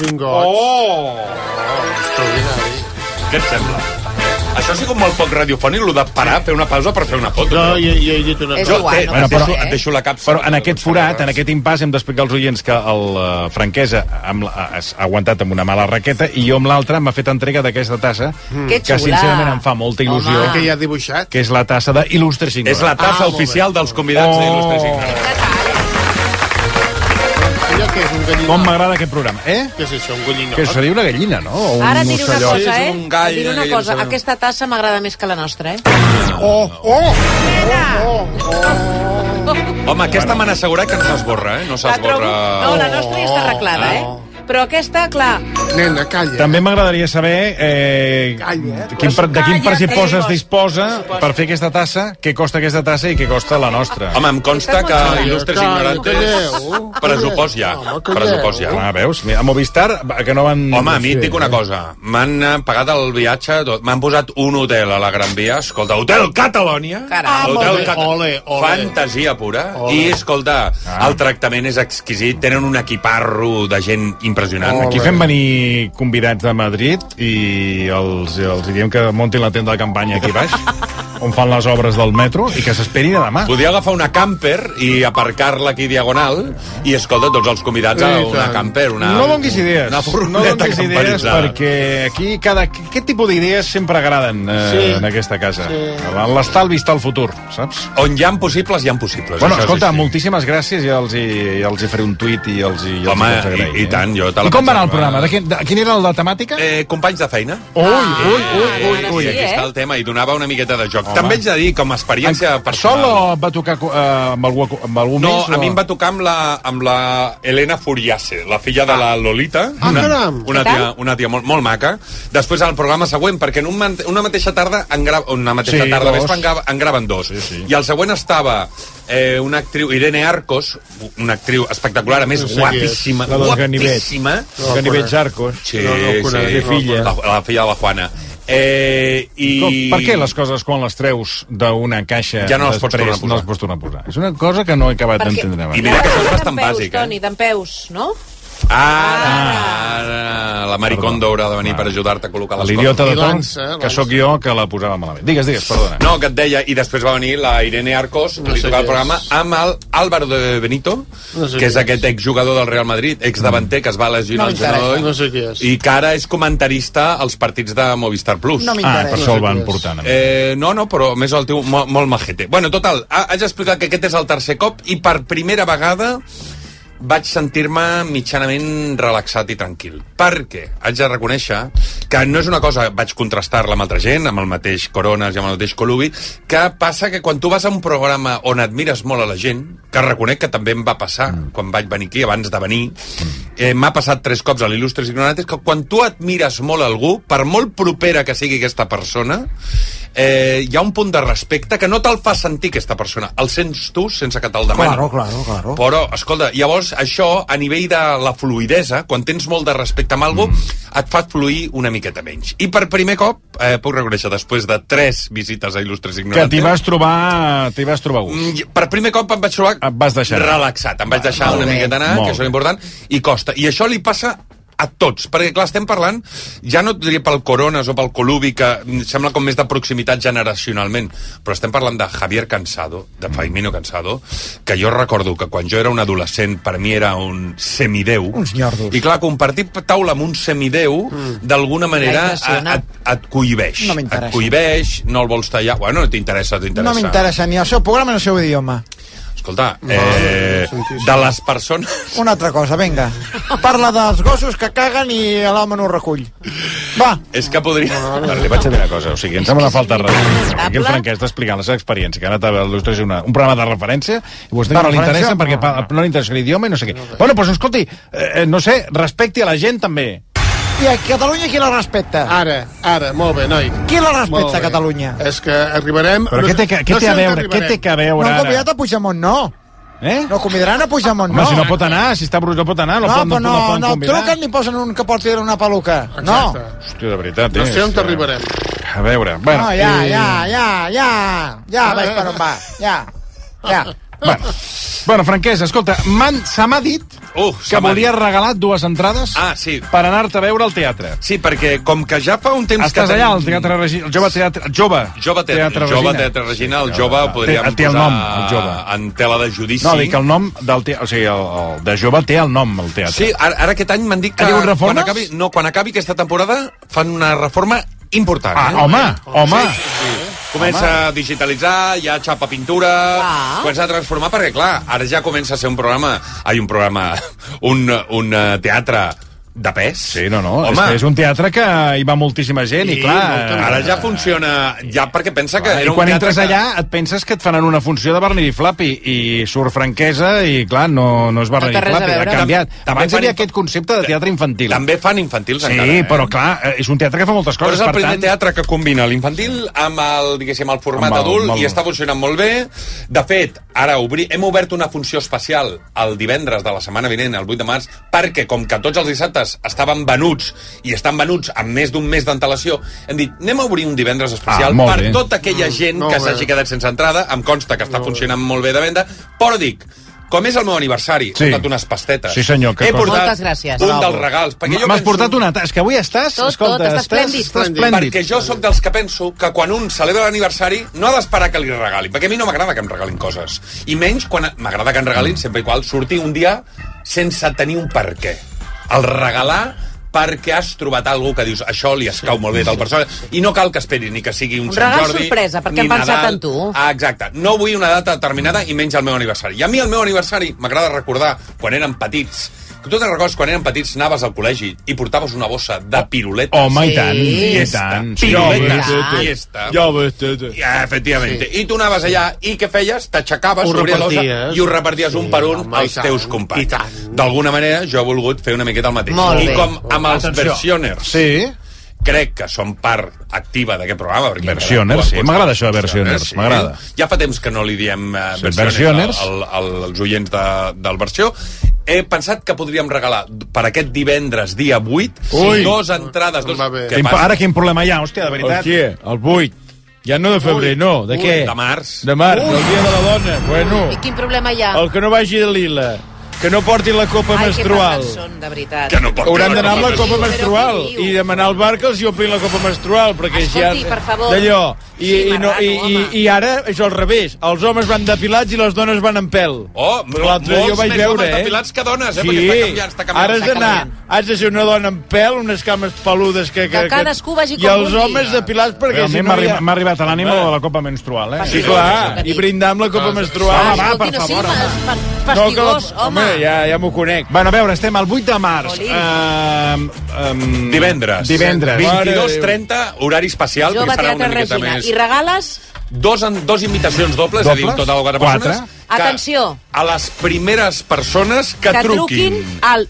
[SPEAKER 3] Oh.
[SPEAKER 4] oh, oh, Què et sembla? Això ha sigut molt poc radiofònic, el de parar, fer una pausa per fer una foto.
[SPEAKER 3] No,
[SPEAKER 4] jo, jo he dit
[SPEAKER 3] una És cosa. igual, no
[SPEAKER 4] et,
[SPEAKER 3] passa
[SPEAKER 4] deixo,
[SPEAKER 3] res.
[SPEAKER 4] et deixo la capsa.
[SPEAKER 3] Però en aquest forat, en aquest impàs, hem d'explicar als oients que el eh, franquesa amb la, ha ha aguantat amb una mala raqueta i jo amb l'altra m'ha fet entrega d'aquesta tassa
[SPEAKER 12] Mm.
[SPEAKER 3] que,
[SPEAKER 12] Que xula.
[SPEAKER 3] sincerament em fa molta il·lusió.
[SPEAKER 12] Home. Que hi ha dibuixat?
[SPEAKER 3] Que és la tassa de Il·lustres
[SPEAKER 4] És la tassa Ah, molt bé. oficial dels convidats
[SPEAKER 3] Oh.
[SPEAKER 4] de Il·lustres
[SPEAKER 12] Allò que és un gallinot.
[SPEAKER 3] Com m'agrada aquest programa, eh?
[SPEAKER 12] Què és això, un gallinot?
[SPEAKER 3] Que seria una gallina, no? O un
[SPEAKER 5] Ara et diré una
[SPEAKER 3] ocellot.
[SPEAKER 5] cosa, eh? Et diré una cosa. Aquesta tassa m'agrada més que la nostra, eh?
[SPEAKER 12] Oh, oh!
[SPEAKER 4] Home, aquesta m'han assegurat que no s'esborra, eh? No s'esborra...
[SPEAKER 5] No, la nostra ja està arreglada, eh? Però aquesta, clar...
[SPEAKER 12] Nena, calla.
[SPEAKER 3] També m'agradaria saber eh, quin, per- de quin
[SPEAKER 5] Calla,
[SPEAKER 3] pressupost
[SPEAKER 5] eh?
[SPEAKER 3] es disposa per fer aquesta tassa, què costa aquesta tassa i què costa la nostra.
[SPEAKER 4] Home, em consta que il·lustres ignorantes... Pressupost ja. Pressupost ja.
[SPEAKER 3] Ah, veus? Mira, a Movistar, que no van...
[SPEAKER 4] Home, a mi et dic una cosa. M'han eh, pagat el viatge, tot. M'han posat un hotel a la Gran Via. Escolta, Hotel Catalònia.
[SPEAKER 12] Ah, molt
[SPEAKER 4] Hotel
[SPEAKER 12] bé.
[SPEAKER 4] Cata-
[SPEAKER 12] Ole, ole.
[SPEAKER 4] Fantasia pura. I, escolta,
[SPEAKER 3] Ah.
[SPEAKER 4] el tractament és exquisit. Tenen un equiparro de gent impressionant.
[SPEAKER 3] Aquí fem venir convidats de Madrid i els, els hi diem que montin la tenda de campanya aquí baix, on fan les obres del metro, i que s'esperin a demà.
[SPEAKER 4] Podria agafar una camper i aparcar-la aquí diagonal i, escolta, tots els convidats a
[SPEAKER 3] I
[SPEAKER 4] una
[SPEAKER 3] tant.
[SPEAKER 4] camper. Una,
[SPEAKER 3] no donis idees,
[SPEAKER 4] Una
[SPEAKER 3] no
[SPEAKER 4] furgoneta
[SPEAKER 3] donis idees
[SPEAKER 4] camperitzada.
[SPEAKER 3] perquè aquí cada, aquest tipus d'idees sempre agraden eh, sí.
[SPEAKER 4] Sí.
[SPEAKER 3] en aquesta casa. Sí. L'estalvi està al futur, saps?
[SPEAKER 4] On hi ha possibles, hi ha possibles.
[SPEAKER 3] Bueno,
[SPEAKER 4] Això és
[SPEAKER 3] escolta,
[SPEAKER 4] així.
[SPEAKER 3] moltíssimes gràcies, ja els hi, ja els hi faré un tuit i els hi, ja
[SPEAKER 4] Home,
[SPEAKER 3] els hi
[SPEAKER 4] i, i tant, jo te la
[SPEAKER 3] I com va anar el
[SPEAKER 4] pensava.
[SPEAKER 3] programa? De quin, de, quin era el de temàtica?
[SPEAKER 4] Eh, Ah, companys de feina.
[SPEAKER 3] Ui, ui, ui, ui, ui.
[SPEAKER 4] Aquí està el tema, i donava una miqueta de joc. També haig de dir, com a experiència
[SPEAKER 3] Sol
[SPEAKER 4] personal...
[SPEAKER 3] o et va tocar eh, amb algú, amb algú
[SPEAKER 4] No,
[SPEAKER 3] més?
[SPEAKER 4] a
[SPEAKER 3] o...
[SPEAKER 4] mi em va tocar amb la, amb la Elena Furiase, la filla de la Lolita.
[SPEAKER 12] Ah, caram.
[SPEAKER 4] Una
[SPEAKER 12] Què tal?
[SPEAKER 4] tia, una tia molt, molt maca. Després, al programa següent, perquè en un, man- una mateixa tarda, en gra, una mateixa
[SPEAKER 12] Sí,
[SPEAKER 4] tarda
[SPEAKER 12] dos.
[SPEAKER 4] vespre en, gra- en graven dos. Sí, sí. I al següent estava eh, una actriu, Irene Arcos, una actriu espectacular, a més,
[SPEAKER 3] No sé qui és.
[SPEAKER 4] guapíssima,
[SPEAKER 3] La del
[SPEAKER 4] guapíssima.
[SPEAKER 3] Ganivet. La del Ganivet Jarcos.
[SPEAKER 4] Sí,
[SPEAKER 3] eh? No, no el
[SPEAKER 4] sí.
[SPEAKER 3] conec, no el conec.
[SPEAKER 4] La, la filla de la Juana. Eh, i...
[SPEAKER 3] Com, per què les coses quan les treus d'una caixa
[SPEAKER 4] Ja no les pots tornar
[SPEAKER 3] després
[SPEAKER 4] a
[SPEAKER 3] no les pots tornar a posar? És una cosa que no he acabat
[SPEAKER 5] Perquè-
[SPEAKER 3] d'entendre. abans.
[SPEAKER 4] I mira que això és bastant
[SPEAKER 5] Peus,
[SPEAKER 4] bàsic, eh?
[SPEAKER 5] Toni, d'en peus, no?
[SPEAKER 4] Ara, ara, la Maricondo haurà de venir per ajudar-te a col·locar les coses.
[SPEAKER 3] L'idiota de torn, que sóc jo, que la posava malament. Digues, digues, perdona.
[SPEAKER 4] No, que et deia, i després va venir la Irene Arcos, que
[SPEAKER 3] No
[SPEAKER 4] li
[SPEAKER 3] sé
[SPEAKER 4] tocava el
[SPEAKER 3] qui és.
[SPEAKER 4] programa, amb el Álvaro de Benito,
[SPEAKER 12] No sé
[SPEAKER 4] que és
[SPEAKER 12] qui
[SPEAKER 4] aquest exjugador del Real Madrid, exdavanter, que es va lesionar
[SPEAKER 12] No
[SPEAKER 4] el
[SPEAKER 12] m'interessa,
[SPEAKER 4] genoll,
[SPEAKER 12] no sé qui és.
[SPEAKER 4] i que ara és comentarista als partits de Movistar Plus.
[SPEAKER 12] No m'interessa. Ah, per això el van
[SPEAKER 3] portant.
[SPEAKER 4] Eh, no, no, però més el teu molt, molt majete. Bueno, total, ha- haig d'explicar que aquest és el tercer cop i per primera vegada vaig sentir-me mitjanament relaxat i tranquil. Perquè haig de reconèixer que no és una cosa, vaig contrastar-la amb altra gent, amb el mateix Coronas i amb el mateix Colubi, que passa que quan tu vas a un programa on admires molt a la gent, que reconec que també em va passar mm. quan vaig venir aquí, abans de venir,
[SPEAKER 25] Mm.
[SPEAKER 4] eh, m'ha passat tres cops a l'Il·lustres Ignorantes, que quan tu admires molt algú, per molt propera que sigui aquesta persona, eh, hi ha un punt de respecte que no te'l fa sentir aquesta persona. El sents tu sense que te'l demani.
[SPEAKER 25] Claro, claro, claro.
[SPEAKER 4] Però, escolta, llavors, això, a nivell de la fluidesa, quan tens molt de respecte amb algú,
[SPEAKER 3] Mm.
[SPEAKER 4] et fa fluir una miqueta menys. I per primer cop, eh, puc reconèixer, després de tres visites a Il·lustres
[SPEAKER 3] Que t'hi
[SPEAKER 4] Ignorantes...
[SPEAKER 3] vas trobar... T'hi vas trobar gust.
[SPEAKER 4] Mm, Per primer cop em vaig trobar
[SPEAKER 3] Et vas deixar. anar.
[SPEAKER 4] relaxat, em vaig deixar
[SPEAKER 3] molt
[SPEAKER 4] una
[SPEAKER 3] bé,
[SPEAKER 4] miqueta anar,
[SPEAKER 3] molt
[SPEAKER 4] que això
[SPEAKER 3] bé.
[SPEAKER 4] és important, i costa. I això li passa a tots, perquè clar, estem parlant, ja no et diria pel Coronas o pel Colubi, que mm, sembla com més de proximitat generacionalment, però estem parlant de Javier Cansado,
[SPEAKER 3] Mm.
[SPEAKER 4] de Faimino Cansado, que jo recordo que quan jo era un adolescent per mi era un semideu,
[SPEAKER 25] Uns nyardos.
[SPEAKER 4] i clar, compartir taula amb un semideu, mm. d'alguna manera
[SPEAKER 25] Ai, impressiona.
[SPEAKER 4] a- et, et cohibeix.
[SPEAKER 25] No
[SPEAKER 4] et
[SPEAKER 25] m'interessa.
[SPEAKER 4] cohibeix, no el vols tallar... Bueno, no t'interessa,
[SPEAKER 25] No
[SPEAKER 4] t'interessa.
[SPEAKER 25] m'interessa ni el seu programa ni el seu idioma.
[SPEAKER 4] Escolta,
[SPEAKER 3] Ah,
[SPEAKER 4] eh, de les persones...
[SPEAKER 25] Una altra cosa, vinga. Parla dels gossos que caguen i l'home no ho recull. Va.
[SPEAKER 4] És que podria...
[SPEAKER 3] Li vaig a dir una cosa, o sigui, em sembla una falta de respecte. Aquí el Franquès està explicant la seva experiència, que ha anat a l'il·lustració és una, un programa de referència, i vostè
[SPEAKER 25] De
[SPEAKER 3] no li
[SPEAKER 25] referència?
[SPEAKER 3] interessa perquè pa, no li interessa l'idioma i no sé què. Bueno, doncs escolti, eh, eh, no sé, respecti a la gent també.
[SPEAKER 25] I a Catalunya qui la respecta?
[SPEAKER 3] Ah.
[SPEAKER 12] Ara, ara, molt bé, noi.
[SPEAKER 25] Qui la
[SPEAKER 12] Molt
[SPEAKER 25] respecta,
[SPEAKER 12] bé.
[SPEAKER 25] a Catalunya?
[SPEAKER 12] És que arribarem...
[SPEAKER 3] Però què té que- què té a
[SPEAKER 12] on
[SPEAKER 3] veure-
[SPEAKER 12] arribarem.
[SPEAKER 3] què té que veure
[SPEAKER 25] No han
[SPEAKER 3] ara?
[SPEAKER 25] convidat a Puigdemont, no.
[SPEAKER 3] Eh?
[SPEAKER 25] No convidaran a Puigdemont,
[SPEAKER 3] Home,
[SPEAKER 25] no.
[SPEAKER 3] si no pot anar, si està brut no pot anar, no,
[SPEAKER 25] no,
[SPEAKER 3] pot, no,
[SPEAKER 25] però no,
[SPEAKER 3] no, poden
[SPEAKER 25] no,
[SPEAKER 3] convidar.
[SPEAKER 25] truquen ni posen un que porti una peluca. No.
[SPEAKER 3] Hòstia, de veritat,
[SPEAKER 12] No
[SPEAKER 3] eh,
[SPEAKER 12] sé on
[SPEAKER 3] és,
[SPEAKER 12] t'arribarem.
[SPEAKER 3] eh, A veure, bueno...
[SPEAKER 25] no, ja,
[SPEAKER 3] eh,
[SPEAKER 5] Ah,
[SPEAKER 25] ja, ja, ja, ja, ja, vaig per on va, ja, ja.
[SPEAKER 3] Bueno, bueno Franquesa, escolta, m'han- se m'ha dit
[SPEAKER 4] Uh, se
[SPEAKER 3] que
[SPEAKER 4] m'ha
[SPEAKER 3] volia regalar dues entrades
[SPEAKER 4] Ah, sí.
[SPEAKER 3] per anar-te a veure al teatre.
[SPEAKER 4] Sí, perquè com que ja fa un temps que...
[SPEAKER 3] Estàs allà al Teatre Regi- al Jove Teatre... al Jove.
[SPEAKER 4] Jove Teatre,
[SPEAKER 3] Teatre
[SPEAKER 4] jove
[SPEAKER 3] Regina.
[SPEAKER 4] teatre Regina, el jove el podríem
[SPEAKER 3] té el
[SPEAKER 4] posar
[SPEAKER 3] nom, el Jove.
[SPEAKER 4] en tela de judici.
[SPEAKER 3] No, dic el nom del teatre... O sigui, el, el de Jove té el nom, el teatre.
[SPEAKER 4] Sí, ara, ara aquest any m'han dit que...
[SPEAKER 3] Ha hagut
[SPEAKER 4] quan
[SPEAKER 3] reformes?
[SPEAKER 4] acabi, no, quan acabi aquesta temporada fan una reforma important.
[SPEAKER 3] Ah,
[SPEAKER 4] eh?
[SPEAKER 3] home, home.
[SPEAKER 4] Sí, sí, sí. Comença a digitalitzar, ja xapa pintura,
[SPEAKER 3] Ah.
[SPEAKER 20] Clar.
[SPEAKER 4] comença a transformar, perquè, clar, ara ja comença a ser un programa... Ai, un programa... Un, un eh, teatre de pes. Sí,
[SPEAKER 3] No, no, és, que és un teatre que hi va moltíssima gent i, clar... eh,
[SPEAKER 4] ara ja funciona... Ja, perquè pensa que...
[SPEAKER 3] I
[SPEAKER 4] era un
[SPEAKER 3] quan
[SPEAKER 4] teatre
[SPEAKER 3] entres
[SPEAKER 4] que-
[SPEAKER 3] allà et penses que et faran una funció de Barney i Flappy i surt franquesa i, clar, no, no és Barney
[SPEAKER 4] No té
[SPEAKER 3] i
[SPEAKER 4] res a
[SPEAKER 3] Flappy, ha
[SPEAKER 4] veure.
[SPEAKER 3] canviat.
[SPEAKER 4] També
[SPEAKER 3] Abans hi
[SPEAKER 4] fan
[SPEAKER 3] havia
[SPEAKER 4] infa-
[SPEAKER 3] aquest concepte de teatre infantil.
[SPEAKER 4] També fan infantils
[SPEAKER 3] Sí,
[SPEAKER 4] encara, eh?
[SPEAKER 3] però clar, eh, és un teatre que fa moltes
[SPEAKER 4] Però
[SPEAKER 3] coses,
[SPEAKER 4] és el
[SPEAKER 3] per
[SPEAKER 4] primer
[SPEAKER 3] tant...
[SPEAKER 4] teatre que combina l'infantil amb el, diguéssim, el format
[SPEAKER 3] Amb el-
[SPEAKER 4] adult
[SPEAKER 3] amb el-
[SPEAKER 4] i està funcionant molt bé. De fet, ara obri... hem obert una funció especial el divendres de la setmana vinent, el 8 de març, perquè com que tots els dissabtes estaven venuts i estan venuts amb més d'un mes d'antelació, hem dit, anem a obrir un divendres especial
[SPEAKER 3] Ah, molt
[SPEAKER 4] per
[SPEAKER 3] bé.
[SPEAKER 4] tota aquella gent
[SPEAKER 3] molt
[SPEAKER 4] que
[SPEAKER 3] bé.
[SPEAKER 4] s'hagi quedat sense entrada. Em consta que està funcionant molt bé de venda, però dic, com és el meu aniversari,
[SPEAKER 3] Sí.
[SPEAKER 4] he portat unes pastetes.
[SPEAKER 3] Sí, senyor, que
[SPEAKER 4] he
[SPEAKER 3] cosa.
[SPEAKER 4] portat
[SPEAKER 5] Moltes gràcies.
[SPEAKER 4] un
[SPEAKER 3] Bravo.
[SPEAKER 4] dels regals. perquè jo
[SPEAKER 3] M'has
[SPEAKER 4] penso-
[SPEAKER 3] portat una... ta- És que avui estàs...
[SPEAKER 5] Tot,
[SPEAKER 3] escolta,
[SPEAKER 5] tot, estàs esplèndid.
[SPEAKER 3] Estàs esplèndid.
[SPEAKER 4] Perquè jo sóc dels que penso que quan un celebra l'aniversari no ha d'esperar que li regalin, perquè a mi no m'agrada que em regalin coses. I menys quan m'agrada que em regalin,
[SPEAKER 3] Mm.
[SPEAKER 4] sempre i qual surti un dia sense tenir un per què. El regalar perquè has trobat algú que dius això li escau molt bé a tal persona i no cal que esperi ni que sigui un,
[SPEAKER 5] Un
[SPEAKER 4] Sant
[SPEAKER 5] regal
[SPEAKER 4] Jordi
[SPEAKER 5] sorpresa, perquè
[SPEAKER 4] ni
[SPEAKER 5] hem pensat
[SPEAKER 4] Nadal.
[SPEAKER 5] en tu.
[SPEAKER 4] Ah, exacte. No vull una data determinada i menys el meu aniversari. I a mi el meu aniversari m'agrada recordar quan érem petits que tu te'n recordes quan érem petits anaves al col·legi i portaves una bossa de piruletes.
[SPEAKER 3] Home, i tant, i
[SPEAKER 4] Fiesta,
[SPEAKER 3] tant. Sí,
[SPEAKER 21] eh?
[SPEAKER 4] Piruletes,
[SPEAKER 3] i tant.
[SPEAKER 4] fiesta.
[SPEAKER 3] Ja ho
[SPEAKER 4] ves, eh, ja, efectivament.
[SPEAKER 3] Sí.
[SPEAKER 4] I tu anaves allà i què feies? T'aixecaves,
[SPEAKER 3] Ho
[SPEAKER 4] obries l'ossa
[SPEAKER 3] reparties.
[SPEAKER 4] i ho reparties un per un
[SPEAKER 3] home,
[SPEAKER 4] als
[SPEAKER 3] i tant,
[SPEAKER 4] teus companys. D'alguna manera jo he volgut fer una miqueta el mateix.
[SPEAKER 3] Molt
[SPEAKER 4] I
[SPEAKER 3] bé.
[SPEAKER 4] com amb els
[SPEAKER 3] Atenció.
[SPEAKER 4] versioners.
[SPEAKER 3] Sí.
[SPEAKER 4] Crec que són part activa d'aquest programa. perquè
[SPEAKER 3] Versioners, sí. M'agrada això de versioners, m'agrada.
[SPEAKER 4] ja fa temps que no li diem eh,
[SPEAKER 3] Sí,
[SPEAKER 4] versioners,
[SPEAKER 3] versioners.
[SPEAKER 4] Al, al, als oients de, del versió. He pensat que podríem regalar per aquest divendres, dia 8,
[SPEAKER 3] Ui.
[SPEAKER 4] dos entrades. Dos...
[SPEAKER 3] Quin,
[SPEAKER 4] passa?
[SPEAKER 3] ara quin problema hi ha, hòstia, de veritat.
[SPEAKER 21] Hòstia, el 8. Ja no de febrer, no. De
[SPEAKER 4] Ui.
[SPEAKER 21] què?
[SPEAKER 4] De març.
[SPEAKER 21] De març,
[SPEAKER 4] Ui.
[SPEAKER 21] el dia de la dona. Bueno,
[SPEAKER 5] I quin problema hi ha?
[SPEAKER 21] el que no vagi de lila, que no porti la copa
[SPEAKER 5] Ai, que
[SPEAKER 21] menstrual.
[SPEAKER 5] pesats són, de veritat.
[SPEAKER 21] Hauran d'anar amb la copa menstrual i demanar al bar que els hi ompli la copa menstrual, perquè
[SPEAKER 5] Escolti,
[SPEAKER 21] ja...
[SPEAKER 5] per favor.
[SPEAKER 21] D'allò. I,
[SPEAKER 5] Sí,
[SPEAKER 21] i, no, i, i, I ara és al revés. Els homes van depilats i les dones van amb pèl.
[SPEAKER 4] Oh, mo-
[SPEAKER 21] L'altre dia ho
[SPEAKER 4] molts
[SPEAKER 21] vaig
[SPEAKER 4] més
[SPEAKER 21] veure,
[SPEAKER 4] homes
[SPEAKER 21] eh?
[SPEAKER 4] depilats que dones, eh?
[SPEAKER 21] Sí.
[SPEAKER 4] Perquè està canviant, està canviant,
[SPEAKER 21] Ara has
[SPEAKER 4] està
[SPEAKER 21] d'anar,
[SPEAKER 4] canviant.
[SPEAKER 21] has de ser una dona amb pèl, unes cames peludes que...
[SPEAKER 5] Que cadascú vagi
[SPEAKER 21] I
[SPEAKER 5] com
[SPEAKER 21] els
[SPEAKER 5] vulgui.
[SPEAKER 21] homes depilats perquè
[SPEAKER 3] Realment
[SPEAKER 21] si
[SPEAKER 3] m'ha
[SPEAKER 21] no...
[SPEAKER 3] arribat- m'ha arribat a l'ànima de la copa menstrual, eh?
[SPEAKER 21] Sí, clar, i brindar amb la
[SPEAKER 5] Ah,
[SPEAKER 21] copa menstrual.
[SPEAKER 3] Home, va, per favor, home.
[SPEAKER 5] Fastigós, home. Ah.
[SPEAKER 21] ja, ja m'ho conec.
[SPEAKER 3] Bueno, a veure, estem al 8 de març.
[SPEAKER 5] Oli.
[SPEAKER 3] Um, um,
[SPEAKER 4] Divendres.
[SPEAKER 3] Divendres.
[SPEAKER 4] 22.30, horari especial,
[SPEAKER 5] Jove
[SPEAKER 4] perquè serà una
[SPEAKER 5] Teatre
[SPEAKER 4] miqueta
[SPEAKER 5] Regina.
[SPEAKER 4] més...
[SPEAKER 5] I regales,
[SPEAKER 4] Dos, en, dos invitacions dobles, dobles? és a dir, en
[SPEAKER 3] Dobles?
[SPEAKER 4] total quatre,
[SPEAKER 3] Quatre.
[SPEAKER 4] persones.
[SPEAKER 5] atenció,
[SPEAKER 4] A les primeres persones que,
[SPEAKER 5] que truquin
[SPEAKER 4] truquin
[SPEAKER 5] al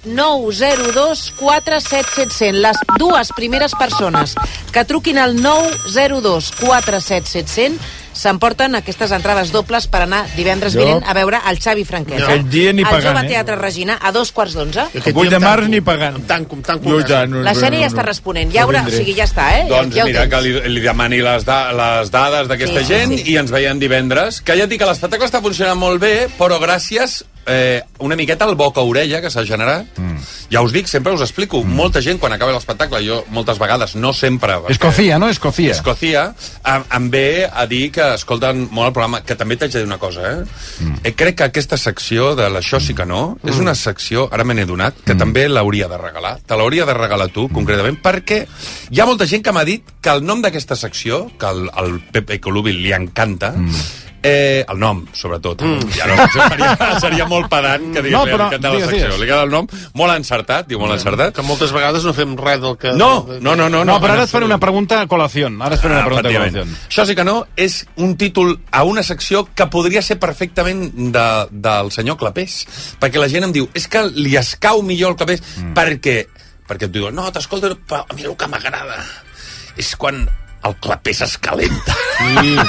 [SPEAKER 5] 902 47700. Les dues primeres persones que truquin al 902 47700 s'emporten aquestes entrades dobles per anar divendres
[SPEAKER 21] Jo-
[SPEAKER 5] vinent a veure el Xavi Franquesa.
[SPEAKER 21] Aquell dia ni
[SPEAKER 5] Al
[SPEAKER 21] pagant,
[SPEAKER 5] Jove
[SPEAKER 21] eh?
[SPEAKER 5] Teatre Regina a dos quarts d'onze.
[SPEAKER 21] El 8 de març ni pagant.
[SPEAKER 12] Tanco, em tanco.
[SPEAKER 21] Jo, i tant, no,
[SPEAKER 5] La
[SPEAKER 21] no,
[SPEAKER 5] Xènia
[SPEAKER 21] no,
[SPEAKER 5] ja està
[SPEAKER 21] no.
[SPEAKER 5] responent. Ja,
[SPEAKER 21] No
[SPEAKER 5] haurà, o
[SPEAKER 21] vindré.
[SPEAKER 5] sigui, ja està, eh?
[SPEAKER 4] Doncs
[SPEAKER 5] ja, ja ho
[SPEAKER 4] mira,
[SPEAKER 5] tens.
[SPEAKER 4] que li, li demani les, da, les dades d'aquesta
[SPEAKER 5] Sí,
[SPEAKER 4] sí,
[SPEAKER 5] sí,
[SPEAKER 4] gent sí,
[SPEAKER 5] sí.
[SPEAKER 4] sí. i ens veiem divendres. Que ja et dic que l'espectacle està funcionant molt bé, però gràcies eh, una miqueta al boca-orella que s'ha generat. Mm. Ja us dic, sempre us explico, mm. molta gent quan acaba l'espectacle, jo moltes vegades, no sempre...
[SPEAKER 3] Escofia, no? Escofia.
[SPEAKER 4] Escòcia em, em ve a dir que escolten molt el programa, que també t'haig de dir una cosa, eh? Mm. eh? Crec que aquesta secció de l'Això sí que no mm. és una secció, ara me n'he donat, que mm. també l'hauria de regalar. Te l'hauria de regalar tu, concretament, perquè hi ha molta gent que m'ha dit que el nom d'aquesta secció, que al, al Pepe Colubi li encanta, mm. Eh, el nom, sobretot. Mm. Ja no, això seria, seria molt pedant que digués
[SPEAKER 12] No,
[SPEAKER 4] no, però,
[SPEAKER 12] però
[SPEAKER 4] li encanta la
[SPEAKER 12] digues,
[SPEAKER 4] secció.
[SPEAKER 12] digues.
[SPEAKER 4] Li queda el nom molt encertat, diu molt encertat.
[SPEAKER 12] Que moltes vegades no fem res del que...
[SPEAKER 4] No, no, no, no.
[SPEAKER 3] No, però ara et faré una pregunta a col·lació. Ara et faré
[SPEAKER 21] Ah,
[SPEAKER 3] una pregunta a col·lació.
[SPEAKER 4] Efectivament. Això sí que no, és un títol a una secció que podria ser perfectament de, del senyor Clapés. Perquè la gent em diu, és que li escau millor el Clapés mm. perquè, perquè et diuen, no, t'escolta, però a mi el que m'agrada és quan el Clapés es calenta.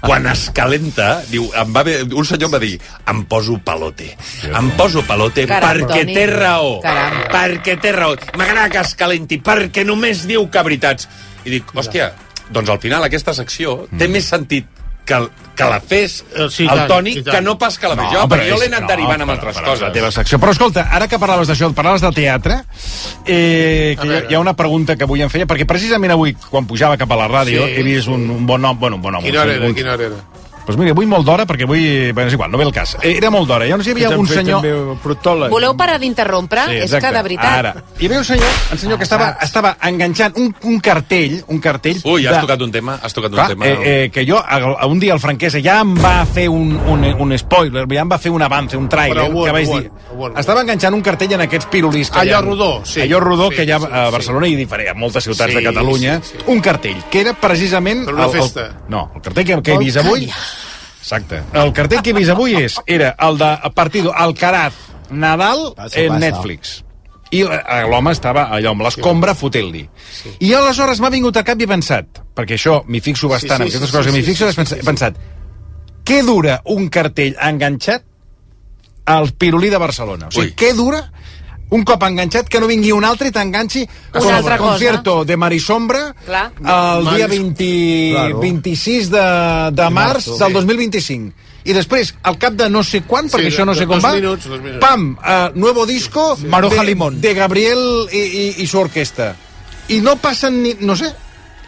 [SPEAKER 4] quan es calenta, diu, em va bé, un senyor em va dir, em poso palote. Em poso palote
[SPEAKER 20] Caram,
[SPEAKER 4] perquè
[SPEAKER 20] Toni.
[SPEAKER 4] té raó.
[SPEAKER 20] Caram.
[SPEAKER 4] Perquè té raó. M'agrada que es calenti, perquè només diu que veritats. I dic, hòstia, doncs al final aquesta secció té més sentit que, el- que la fes
[SPEAKER 3] Mm. Eh, Sí, i
[SPEAKER 4] el
[SPEAKER 3] tant,
[SPEAKER 4] Toni,
[SPEAKER 3] i tant.
[SPEAKER 4] que no pas que la fes
[SPEAKER 3] No,
[SPEAKER 4] jo,
[SPEAKER 3] però
[SPEAKER 4] perquè jo l'he
[SPEAKER 3] és-
[SPEAKER 4] anat
[SPEAKER 3] no,
[SPEAKER 4] derivant amb
[SPEAKER 3] però-
[SPEAKER 4] altres
[SPEAKER 3] però és La
[SPEAKER 4] coses.
[SPEAKER 3] teva secció. Però escolta, ara que parlaves d'això, parlaves de teatre, eh, que hi ha, hi ha una pregunta que avui em feia, perquè precisament avui, quan pujava cap a la ràdio,
[SPEAKER 12] Sí.
[SPEAKER 3] he vist un, un bon home, bueno, un bon home.
[SPEAKER 12] Quina hora
[SPEAKER 3] un-
[SPEAKER 12] era?
[SPEAKER 3] un-
[SPEAKER 12] Quina hora era?
[SPEAKER 3] Doncs mira, avui molt d'hora, perquè avui... Bé, és igual, no ve el cas. Eh, Era molt d'hora. Llavors hi havia
[SPEAKER 12] Que t'han
[SPEAKER 3] un
[SPEAKER 12] fet
[SPEAKER 3] senyor...
[SPEAKER 21] eh?
[SPEAKER 3] Protòleg.
[SPEAKER 5] Voleu parar d'interrompre?
[SPEAKER 3] Sí,
[SPEAKER 5] Ah, és
[SPEAKER 3] exacte.
[SPEAKER 5] que de veritat...
[SPEAKER 3] Ara. Hi havia un senyor, un senyor que estava, estava enganxant un, un cartell, un cartell...
[SPEAKER 4] Ui, has
[SPEAKER 3] de-
[SPEAKER 4] tocat un tema, has tocat un
[SPEAKER 3] Clar,
[SPEAKER 4] tema.
[SPEAKER 3] eh, eh, que jo, a- a un dia el franquesa ja em va fer un, un, un spoiler, ja em va fer un avance, un trailer,
[SPEAKER 12] Però, bueno,
[SPEAKER 3] que vaig
[SPEAKER 12] bueno,
[SPEAKER 3] dir... Estava enganxant un cartell en aquests pirulis que
[SPEAKER 12] Ah, Allò
[SPEAKER 3] hi ha.
[SPEAKER 12] rodó, sí.
[SPEAKER 3] Allò rodó,
[SPEAKER 12] Sí,
[SPEAKER 3] que hi ha
[SPEAKER 12] sí,
[SPEAKER 3] a Barcelona i diferent, a moltes ciutats
[SPEAKER 12] Sí,
[SPEAKER 3] de Catalunya.
[SPEAKER 12] sí,
[SPEAKER 3] Un cartell, que era precisament...
[SPEAKER 12] Però una festa.
[SPEAKER 3] El, no, el cartell que, que he
[SPEAKER 12] Oh,
[SPEAKER 3] vist avui... Exacte. El cartell que he vist avui és, era el de Partido Alcaraz Nadal
[SPEAKER 12] Passa,
[SPEAKER 3] en
[SPEAKER 12] passa.
[SPEAKER 3] Netflix. I eh, l'home estava allò amb l'escombra fotent-li. I aleshores m'ha vingut a cap i he pensat, perquè això m'hi fixo bastant,
[SPEAKER 12] sí,
[SPEAKER 3] en aquestes
[SPEAKER 12] sí,
[SPEAKER 3] coses
[SPEAKER 12] sí,
[SPEAKER 3] que m'hi
[SPEAKER 12] sí,
[SPEAKER 3] fixo,
[SPEAKER 12] sí,
[SPEAKER 3] he pensat, he pensat, què dura un cartell enganxat al Pirulí de Barcelona? O sigui, què dura un cop enganxat que no vingui un altre i t'enganxi com
[SPEAKER 5] Una
[SPEAKER 3] el
[SPEAKER 5] altra cosa.
[SPEAKER 3] concierto de Marisombra
[SPEAKER 5] Clar.
[SPEAKER 3] el dia
[SPEAKER 5] Maris-
[SPEAKER 3] 20,
[SPEAKER 5] Claro.
[SPEAKER 3] 26 de, de març
[SPEAKER 5] marzo.
[SPEAKER 3] del 2025 i després, al cap de no sé quan,
[SPEAKER 12] Sí,
[SPEAKER 3] perquè això no
[SPEAKER 12] dos-
[SPEAKER 3] sé com
[SPEAKER 12] dos
[SPEAKER 3] va,
[SPEAKER 12] minuts, dos minuts.
[SPEAKER 3] pam, uh, nuevo disco
[SPEAKER 12] Maroja
[SPEAKER 3] de,
[SPEAKER 12] Limón.
[SPEAKER 3] de Gabriel i, i, i su orquesta. I no passen ni... no sé,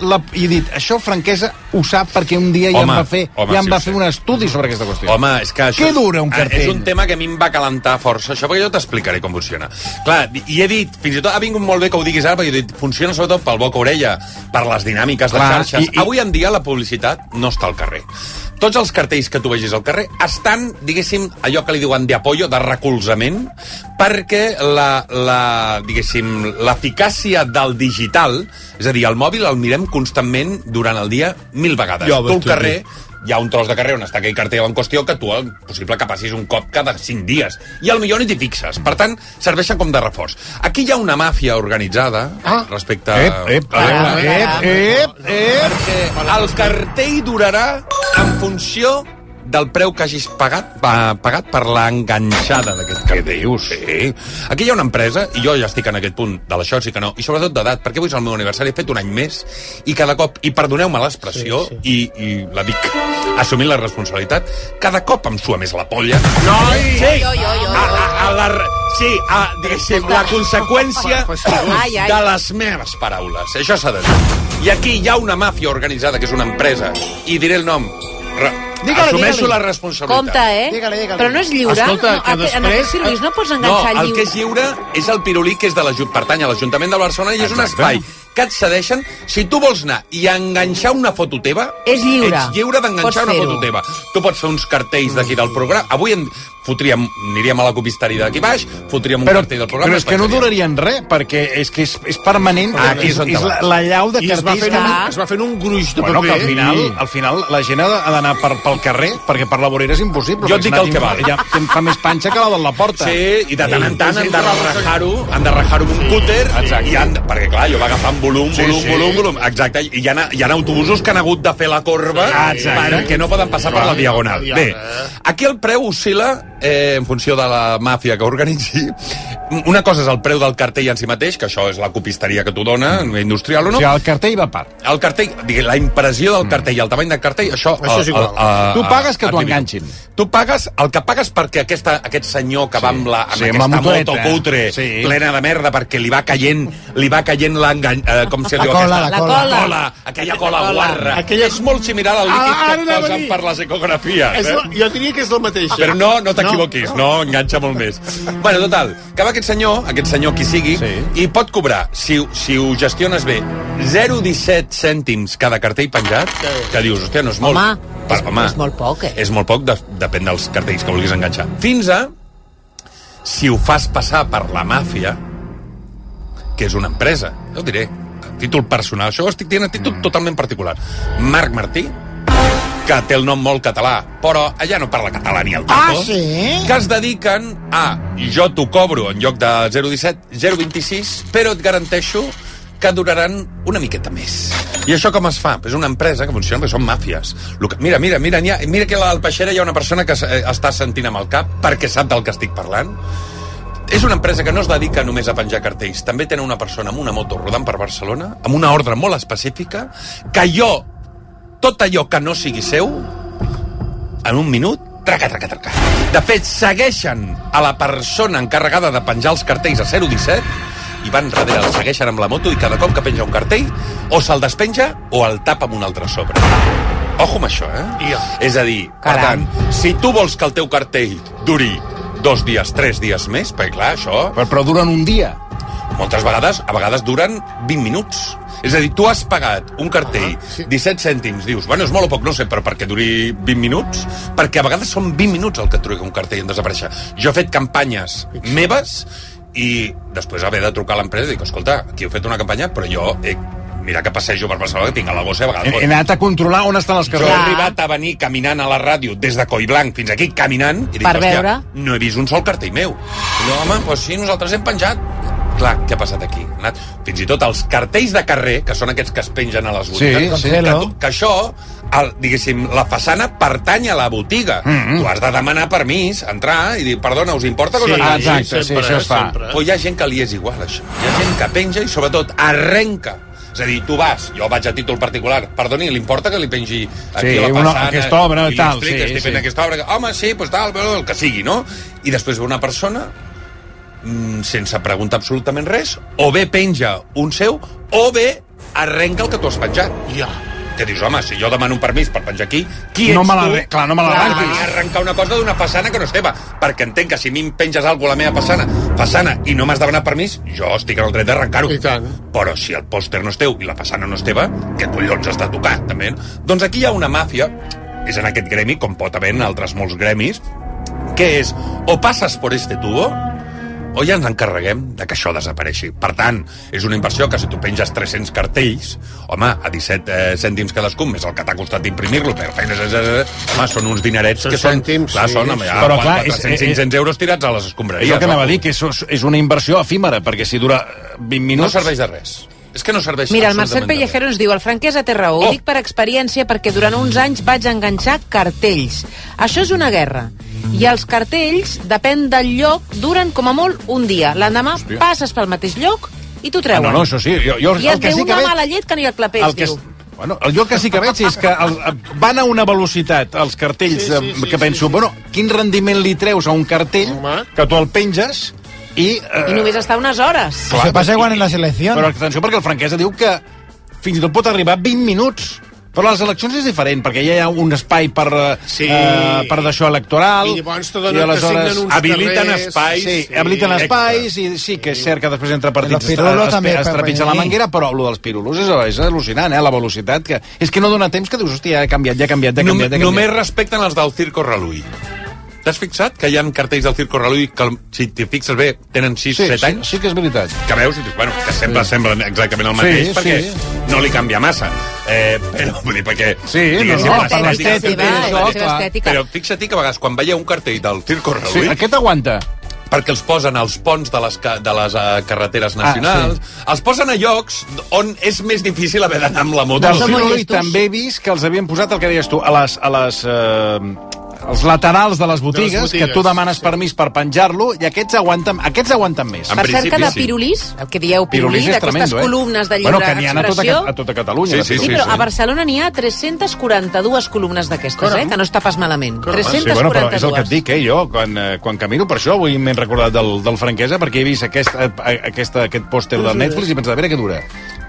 [SPEAKER 3] la, i he dit, això franquesa ho sap perquè un dia ja em
[SPEAKER 4] Home,
[SPEAKER 3] va fer,
[SPEAKER 4] home,
[SPEAKER 3] ja em
[SPEAKER 4] sí,
[SPEAKER 3] va
[SPEAKER 4] ho
[SPEAKER 3] fer un estudi sobre aquesta qüestió.
[SPEAKER 4] Home, és que això...
[SPEAKER 3] Què dura un
[SPEAKER 4] Ah,
[SPEAKER 3] cartell?
[SPEAKER 4] És un tema que a mi em va calentar força, això, perquè jo t'explicaré com funciona. Clar, i he dit, fins i tot ha vingut molt bé que ho diguis ara, perquè he dit, funciona sobretot pel boca-orella, per les dinàmiques
[SPEAKER 3] Clar,
[SPEAKER 4] de xarxes.
[SPEAKER 3] i-
[SPEAKER 4] I,
[SPEAKER 3] i-
[SPEAKER 4] i... Avui en dia la publicitat no està al carrer. Tots els cartells que tu vegis al carrer estan, diguéssim, allò que li diuen de apoyo, de recolzament, perquè la, la diguéssim, l'eficàcia del digital, és a dir, el mòbil el mirem constantment durant el dia mil vegades.
[SPEAKER 12] Ja ho
[SPEAKER 4] tu
[SPEAKER 12] vaig
[SPEAKER 4] al
[SPEAKER 12] dir.
[SPEAKER 4] carrer hi ha un tros de carrer on està aquell cartell en qüestió que tu el possible que passis un cop cada 5 dies i al millor ni t'hi fixes. Per tant, serveixen com de reforç. Aquí hi ha una màfia organitzada ah. respecte a...
[SPEAKER 3] Ep, ep, ep, ep, ep,
[SPEAKER 4] El cartell durarà en funció del preu que hagis pagat va, pagat per l'enganxada d'aquest cartell. Què dius? Sí. Aquí hi ha una empresa, i jo ja estic en aquest punt de l'això, sí que no, i sobretot d'edat, perquè avui és el meu aniversari, he fet un any més, i cada cop, i perdoneu-me l'expressió, sí, sí. i, i la dic assumint la responsabilitat, cada cop em sua més la polla. Noi! Sí! A, a, a la, re- sí, a, diguéssim, la conseqüència
[SPEAKER 5] Ai, ai.
[SPEAKER 4] de les meves paraules. Això s'ha de dir. I aquí hi ha una màfia organitzada, que és una empresa, i diré el nom. Re,
[SPEAKER 5] Digue-li,
[SPEAKER 4] assumeixo
[SPEAKER 5] digue-li.
[SPEAKER 4] la responsabilitat.
[SPEAKER 5] Compte, eh? Digue-li, digue-li. Però no és lliure?
[SPEAKER 4] Escolta,
[SPEAKER 5] no,
[SPEAKER 4] que
[SPEAKER 5] a- En
[SPEAKER 4] després-
[SPEAKER 5] aquest circuit no pots enganxar
[SPEAKER 4] no, el
[SPEAKER 5] lliure.
[SPEAKER 4] que és lliure és el pirulí que és de la, Ju- pertany a l'Ajuntament de Barcelona i és un espai que et cedeixen. Si tu vols anar i enganxar una foto teva...
[SPEAKER 5] És lliure.
[SPEAKER 4] Ets lliure
[SPEAKER 5] Pots
[SPEAKER 4] d'enganxar una
[SPEAKER 5] fer-ho.
[SPEAKER 4] foto teva. Tu pots fer uns cartells d'aquí del programa. Avui en fotríem, aniríem a la copisteria d'aquí baix, fotríem un cartell del programa...
[SPEAKER 3] Però és que no durarien res, perquè és que és, és permanent.
[SPEAKER 4] Ah, aquí és on
[SPEAKER 3] és
[SPEAKER 4] te
[SPEAKER 3] la,
[SPEAKER 4] vas.
[SPEAKER 3] la llau de
[SPEAKER 12] I es va
[SPEAKER 3] cartells.
[SPEAKER 12] fent un- es va fent un gruix de
[SPEAKER 3] bueno,
[SPEAKER 12] paper.
[SPEAKER 3] que al final,
[SPEAKER 12] Sí.
[SPEAKER 3] al final la gent ha de- ha d'anar per, pel carrer, perquè per la vorera és impossible.
[SPEAKER 4] Jo
[SPEAKER 3] perquè
[SPEAKER 4] et dic
[SPEAKER 3] si no
[SPEAKER 4] el que
[SPEAKER 3] tinc-
[SPEAKER 4] val.
[SPEAKER 3] Ja em fa més panxa que la de la porta.
[SPEAKER 4] Sí, i de tant en tant han de rajar-ho han de rajar-ho amb un cúter i han, perquè clar, jo va agafant volum,
[SPEAKER 12] Sí,
[SPEAKER 4] volum,
[SPEAKER 12] sí.
[SPEAKER 4] volum, volum exacte, i hi ha, hi ha autobusos que han hagut de fer la corba
[SPEAKER 12] Sí.
[SPEAKER 4] perquè no poden passar per la diagonal bé, aquí el preu oscil·la eh, en funció de la màfia que organitzi una cosa és el preu del cartell en si mateix, que això és la copisteria que t'ho dona industrial o no
[SPEAKER 3] O sigui, el cartell va a part.
[SPEAKER 4] el cartell, digui, la impressió del cartell, el tamany del cartell, això...
[SPEAKER 3] Mm.
[SPEAKER 4] eh,
[SPEAKER 3] Això és igual. Tu pagues que t'ho enganxin.
[SPEAKER 4] Tu pagues el que pagues perquè aquesta, aquest senyor que va amb, la, amb
[SPEAKER 3] Sí, amb la
[SPEAKER 4] aquesta
[SPEAKER 3] motoreta.
[SPEAKER 4] moto cutre, sí.
[SPEAKER 3] Sí.
[SPEAKER 4] plena de merda, perquè li va caient, li va caient l'engany... Eh, com se
[SPEAKER 3] La
[SPEAKER 4] diu
[SPEAKER 3] cola,
[SPEAKER 4] aquesta?
[SPEAKER 3] la cola.
[SPEAKER 4] La cola, aquella cola,
[SPEAKER 12] La cola.
[SPEAKER 4] guarra. Aquella... És molt similar al líquid
[SPEAKER 12] Ah, ara
[SPEAKER 4] que
[SPEAKER 12] anava
[SPEAKER 4] et
[SPEAKER 12] a
[SPEAKER 4] posen
[SPEAKER 12] dir.
[SPEAKER 4] per les ecografies.
[SPEAKER 12] És
[SPEAKER 4] eh?
[SPEAKER 12] la- jo diria que és el mateix. eh?
[SPEAKER 4] Però no, no t'equivoquis, no. no, enganxa molt més. Bueno, total, que va aquest senyor, aquest senyor qui sigui, sí. i pot cobrar, si, si ho gestiones bé, 0,17 cèntims cada cartell penjat, que dius, hòstia, no és molt... Home, per, home, és molt poc, eh? És molt poc, de, depèn dels cartells que vulguis enganxar. Fins a, si ho fas passar per la màfia, que és una empresa, jo ho diré, a títol personal, això ho estic dient a títol totalment particular. Marc Martí, que té el nom molt català, però allà no parla català ni el tato,
[SPEAKER 25] Ah, sí?
[SPEAKER 4] que es dediquen a, jo t'ho cobro en lloc de 0,17, 0,26, però et garanteixo que duraran una miqueta més. I això com es fa? És una empresa que funciona, perquè són màfies. Lo que, mira, mira, mira, n'hi ha, mira que a l'Alpeixera hi ha una persona que s- eh, està sentint amb el cap perquè sap del que estic parlant. És una empresa que no es dedica només a penjar cartells. També tenen una persona amb una moto rodant per Barcelona, amb una ordre molt específica, que jo, tot allò que no sigui seu, en un minut, traca, traca, traca. De fet, segueixen a la persona encarregada de penjar els cartells a 017 i van darrere, el segueixen amb la moto i cada cop que penja un cartell, o se'l despenja o el tapa amb un altre a sobre. Ojo amb això, eh? És a dir,
[SPEAKER 20] Caram.
[SPEAKER 4] per tant, si tu vols que el teu cartell duri dos dies, tres dies més, perquè clar, això...
[SPEAKER 3] Però, però duren un dia.
[SPEAKER 4] Moltes vegades, a vegades duren 20 minuts. És a dir, tu has pagat un cartell, 17 cèntims, dius, bueno, és molt o poc, no sé, però perquè duri 20 minuts? Perquè a vegades són 20 minuts el que et truca un cartell en desaparèixer. Jo he fet campanyes meves i després haver de trucar a l'empresa i dic, escolta, aquí heu fet una campanya, però jo he... Mira que passejo per Barcelona, que tinc a la gossa i a
[SPEAKER 3] He,
[SPEAKER 4] vegades...
[SPEAKER 3] he anat a controlar on estan les
[SPEAKER 4] Jo he
[SPEAKER 3] cartes.
[SPEAKER 4] arribat a venir caminant a la ràdio des de Collblanc fins aquí, caminant, i dic,
[SPEAKER 3] Per
[SPEAKER 4] hòstia,
[SPEAKER 3] veure?
[SPEAKER 4] no he vist un sol cartell meu. No, home, doncs sí, nosaltres hem penjat. Clar, què ha passat aquí? Ha Anat, fins i tot els cartells de carrer, que són aquests que es pengen a les
[SPEAKER 20] Sí,
[SPEAKER 4] botigues,
[SPEAKER 20] sí.
[SPEAKER 4] que,
[SPEAKER 20] Cancelo.
[SPEAKER 4] tu- que això, el, diguéssim, la façana pertany a la botiga.
[SPEAKER 20] Mhm.
[SPEAKER 4] Tu has de demanar permís, entrar i dir, perdona, us importa? que us
[SPEAKER 3] Sí,
[SPEAKER 4] agafi?"
[SPEAKER 3] Ah, exacte, sí, Sempre, això es fa. sempre.
[SPEAKER 4] Però hi ha gent que li és igual, això. Hi ha gent que penja i, sobretot, arrenca. És a dir, tu vas, jo vaig a títol particular, perdoni, li importa que li pengi aquí
[SPEAKER 3] Sí,
[SPEAKER 4] a la
[SPEAKER 3] una-
[SPEAKER 4] façana,
[SPEAKER 3] aquesta obra,
[SPEAKER 4] i li
[SPEAKER 3] tal,
[SPEAKER 4] explica,
[SPEAKER 3] sí,
[SPEAKER 4] estic
[SPEAKER 3] sí.
[SPEAKER 4] fent aquesta obra, que, home, sí, doncs tal, però el que sigui, no? I després ve una persona mm, sense preguntar absolutament res, o bé penja un seu, o bé arrenca el que tu has penjat. Ja. Que dius, home, si jo demano un permís per penjar aquí, qui
[SPEAKER 3] No
[SPEAKER 4] ets
[SPEAKER 3] me la-
[SPEAKER 4] tu?
[SPEAKER 3] clar, no me l'arrenquis.
[SPEAKER 4] Per arrencar una cosa d'una façana que no és teva. Perquè entenc que si a mi em penges alguna a la meva façana, façana i no m'has demanat permís, jo estic en el dret d'arrencar-ho. Però si el pòster no és teu i la façana no és teva, què collons has de tocar, també? Doncs aquí hi ha una màfia, és en aquest gremi, com pot haver en altres molts gremis, que és o passes por este tubo o ja ens encarreguem de que això desapareixi. Per tant, és una inversió que si tu penges 300 cartells, home, a 17 eh, cèntims cadascun, més el que t'ha costat imprimir-lo, per feines, eh, eh, eh, home, són uns dinerets que són...
[SPEAKER 3] Cèntims,
[SPEAKER 4] clar,
[SPEAKER 3] sí.
[SPEAKER 4] són, home, ja,
[SPEAKER 3] Però, clar, és-
[SPEAKER 4] 400,
[SPEAKER 3] eh, eh,
[SPEAKER 4] 500 euros tirats a les
[SPEAKER 3] És
[SPEAKER 4] escombraries.
[SPEAKER 3] el que anava
[SPEAKER 4] no?
[SPEAKER 3] a dir, que és, és una inversió efímera, perquè si dura 20
[SPEAKER 4] No
[SPEAKER 3] minuts...
[SPEAKER 4] serveix de res. És que no serveix
[SPEAKER 5] Mira, el Marcel
[SPEAKER 4] absolutament de res.
[SPEAKER 5] Pellejero ens diu el franquesa té raó,
[SPEAKER 3] Oh.
[SPEAKER 5] ho dic per experiència perquè durant uns anys vaig enganxar cartells. Això és una guerra. I els cartells, depèn del lloc, duren com a molt un dia. L'endemà
[SPEAKER 3] Hòstia.
[SPEAKER 5] passes pel mateix lloc i t'ho
[SPEAKER 3] Ah,
[SPEAKER 5] treuen.
[SPEAKER 3] no, no, això sí. Jo, jo,
[SPEAKER 5] I
[SPEAKER 3] el
[SPEAKER 5] et
[SPEAKER 3] que
[SPEAKER 5] ve
[SPEAKER 3] sí que
[SPEAKER 5] una
[SPEAKER 3] veig...
[SPEAKER 5] mala llet que ni el clapés,
[SPEAKER 3] el que
[SPEAKER 5] diu.
[SPEAKER 3] és- Bueno, jo el que sí que veig és que el, van a una velocitat els cartells sí, sí, sí, que penso, sí, sí. bueno, quin rendiment li treus a un cartell Home. que tu el penges i... Eh,
[SPEAKER 5] I només està unes hores.
[SPEAKER 3] Clar,
[SPEAKER 25] Se pasa igual en la selección.
[SPEAKER 3] Però atenció, perquè el franquesa diu que fins i tot pot arribar a 20 minuts. Però a les eleccions és diferent, perquè ja hi ha un espai per, sí. eh, per d'això electoral.
[SPEAKER 12] I llavors te donen- t'assignen uns
[SPEAKER 3] habiliten
[SPEAKER 12] carrers,
[SPEAKER 3] espais. Sí,
[SPEAKER 12] sí,
[SPEAKER 3] sí, habiliten
[SPEAKER 12] extra.
[SPEAKER 3] espais, i sí que és cert que després entre
[SPEAKER 25] Los
[SPEAKER 3] partits es,
[SPEAKER 25] pirulos
[SPEAKER 3] es,
[SPEAKER 25] també,
[SPEAKER 3] es, es trepitja
[SPEAKER 25] Pepe,
[SPEAKER 3] la
[SPEAKER 25] sí.
[SPEAKER 3] manguera, però el dels pirulos és, és al·lucinant, eh, la velocitat. Que, és que no dona temps que dius, hòstia, ja ha canviat, ja ha canviat, ja ha
[SPEAKER 4] Només,
[SPEAKER 3] canviat. Ja ha
[SPEAKER 4] només
[SPEAKER 3] canviat.
[SPEAKER 4] respecten els del Circo Reluí. T'has fixat que hi ha cartells del Circo Reluí que, si t'hi fixes bé, tenen 6-7
[SPEAKER 3] Sí, sí,
[SPEAKER 4] anys?
[SPEAKER 3] sí que és veritat.
[SPEAKER 4] Que veus i dius, bueno, que sempre sí. semblen exactament el
[SPEAKER 3] Sí,
[SPEAKER 4] mateix,
[SPEAKER 3] sí.
[SPEAKER 4] perquè no li canvia massa. Eh, però, vull dir, perquè... Sí,
[SPEAKER 3] no, no, per l'estètica,
[SPEAKER 5] eh, per la seva estètica.
[SPEAKER 4] Però fixa-t'hi que a vegades, quan veieu un cartell del Circo Reluí...
[SPEAKER 3] Sí, aquest aguanta.
[SPEAKER 4] perquè els posen als ponts de les, ca- de les eh, carreteres nacionals, ah, sí. els posen a llocs on és més difícil haver d'anar amb la moto.
[SPEAKER 3] Del Firoli també he vist que els havien posat el que deies tu, a les... A les eh, als laterals de les botigues,
[SPEAKER 5] De les botigues,
[SPEAKER 3] que tu demanes sí. permís per penjar-lo, i aquests aguanten, aquests aguanten més.
[SPEAKER 5] per cert, que de pirulís, el que dieu
[SPEAKER 3] Pirulís
[SPEAKER 5] pirulí,
[SPEAKER 3] és
[SPEAKER 5] d'aquestes
[SPEAKER 3] tremendo, eh?
[SPEAKER 5] columnes de lliure
[SPEAKER 3] Bueno, que n'hi ha a tota,
[SPEAKER 5] expressió...
[SPEAKER 3] Ca- a tota Catalunya. de
[SPEAKER 5] Sí,
[SPEAKER 3] pirulís.
[SPEAKER 5] però a Barcelona n'hi ha 342 columnes d'aquestes, eh? que no està pas malament.
[SPEAKER 3] Sí, bueno, però és el que et
[SPEAKER 5] 342.
[SPEAKER 3] dic, eh, jo, quan, eh, quan camino, per això avui m'he recordat del, del franquesa, perquè he vist aquest, eh, aquesta, aquest pòster del Netflix i pensava, a veure què dura.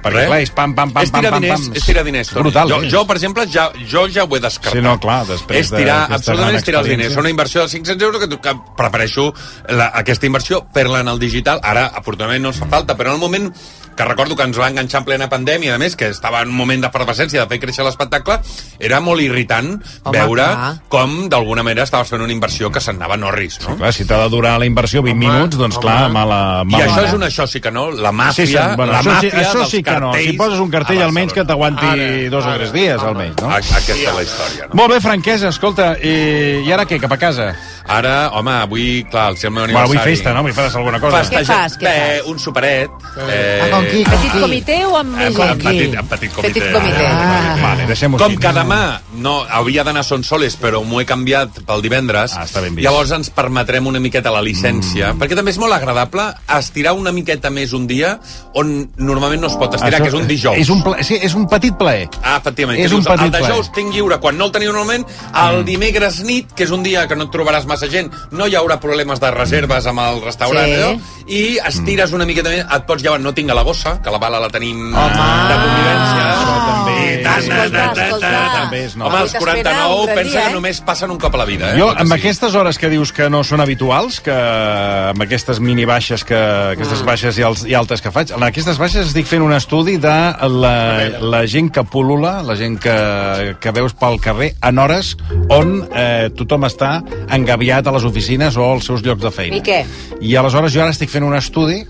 [SPEAKER 3] Perquè,
[SPEAKER 4] Res.
[SPEAKER 3] clar, és pam, pam, pam,
[SPEAKER 4] és tirar
[SPEAKER 3] pam, pam,
[SPEAKER 4] diners,
[SPEAKER 3] pam.
[SPEAKER 4] és tirar diners, Toni.
[SPEAKER 3] Brutal,
[SPEAKER 4] jo,
[SPEAKER 3] eh?
[SPEAKER 4] jo, per exemple, ja, jo ja ho he descartat.
[SPEAKER 3] Sí, no, clar, després
[SPEAKER 4] és tirar,
[SPEAKER 3] d'aquesta gran
[SPEAKER 4] absolutament és tirar els diners.
[SPEAKER 3] experiència.
[SPEAKER 4] Una inversió de 500 euros que, tu- que prefereixo la, aquesta inversió, fer-la en el digital. Ara, afortunadament, no ens fa falta, però en el moment que recordo que ens va enganxar en plena pandèmia, a més, que estava en un moment d'efervescència de fer créixer l'espectacle, era molt irritant Home, veure
[SPEAKER 3] clar.
[SPEAKER 4] com, d'alguna manera, estaves fent una inversió que s'anava a Norris, no?
[SPEAKER 3] Clar, si t'ha de durar la inversió 20 home, minuts, doncs clar, mala,
[SPEAKER 4] I
[SPEAKER 3] mala
[SPEAKER 4] això és
[SPEAKER 3] mare.
[SPEAKER 4] una això sí que no, la màfia,
[SPEAKER 3] Sí, sí, bueno,
[SPEAKER 4] la
[SPEAKER 3] això,
[SPEAKER 4] màfia
[SPEAKER 3] sí, això
[SPEAKER 4] dels
[SPEAKER 3] sí que no.
[SPEAKER 4] cartells
[SPEAKER 3] Si poses un cartell, almenys que t'aguanti dos o tres dies, almenys, no?
[SPEAKER 4] Aquesta és la història.
[SPEAKER 3] Molt bé, franquesa, escolta, i, i ara què, cap a casa?
[SPEAKER 4] Ara, home, avui, clar, el seu meu
[SPEAKER 3] Bueno,
[SPEAKER 4] aniversari...
[SPEAKER 3] avui festa, no? Avui faràs alguna cosa.
[SPEAKER 5] Què fas, què
[SPEAKER 4] eh, un superet. Eh, Ah,
[SPEAKER 5] Petit comitè o amb
[SPEAKER 3] Ah,
[SPEAKER 5] més
[SPEAKER 4] amb, amb,
[SPEAKER 5] gent?
[SPEAKER 4] petit, amb petit comitè.
[SPEAKER 5] comitè.
[SPEAKER 4] Ah.
[SPEAKER 3] Vale, deixem-ho
[SPEAKER 4] Com que demà No, havia d'anar a Son Soles, però m'ho he canviat pel divendres. Ah, està ben
[SPEAKER 3] vist.
[SPEAKER 4] Llavors ens permetrem una miqueta la llicència, mm. perquè també és molt agradable estirar una miqueta més un dia on normalment no es pot estirar, Això, que és un dijous.
[SPEAKER 3] És un, pla... sí, és un petit plaer.
[SPEAKER 4] Ah, efectivament.
[SPEAKER 3] És
[SPEAKER 4] que
[SPEAKER 3] un
[SPEAKER 4] dius,
[SPEAKER 3] petit
[SPEAKER 4] el dijous
[SPEAKER 3] plaer.
[SPEAKER 4] tinc lliure quan no el teniu normalment, el dimecres nit, que és un dia que no et trobaràs massa gent, no hi haurà problemes de reserves amb el restaurant,
[SPEAKER 20] Sí.
[SPEAKER 4] sí. allò, i estires una miqueta més, et pots llevar, no tinc a la gossa, que la bala la tenim Eh, Home. de convivència. Això també.
[SPEAKER 3] Ah. Escolta,
[SPEAKER 4] eh,
[SPEAKER 3] escolta. També és nou.
[SPEAKER 4] Home,
[SPEAKER 3] Avui
[SPEAKER 4] els
[SPEAKER 3] t'espera
[SPEAKER 4] 49
[SPEAKER 3] un gran
[SPEAKER 4] pensa
[SPEAKER 3] dia,
[SPEAKER 4] que
[SPEAKER 3] eh?
[SPEAKER 4] només passen un cop a la vida. Eh?
[SPEAKER 3] Jo,
[SPEAKER 4] Tot
[SPEAKER 3] amb
[SPEAKER 4] així.
[SPEAKER 3] aquestes hores que dius que no són habituals, que amb aquestes mini baixes, que, aquestes baixes i, als, i altes que faig, en aquestes baixes estic fent un estudi de la, la gent que pulula, la gent que, que veus pel carrer en hores on eh, tothom està engaviat a les oficines o als seus llocs de feina.
[SPEAKER 5] I què?
[SPEAKER 3] I aleshores jo ara estic fent un estudi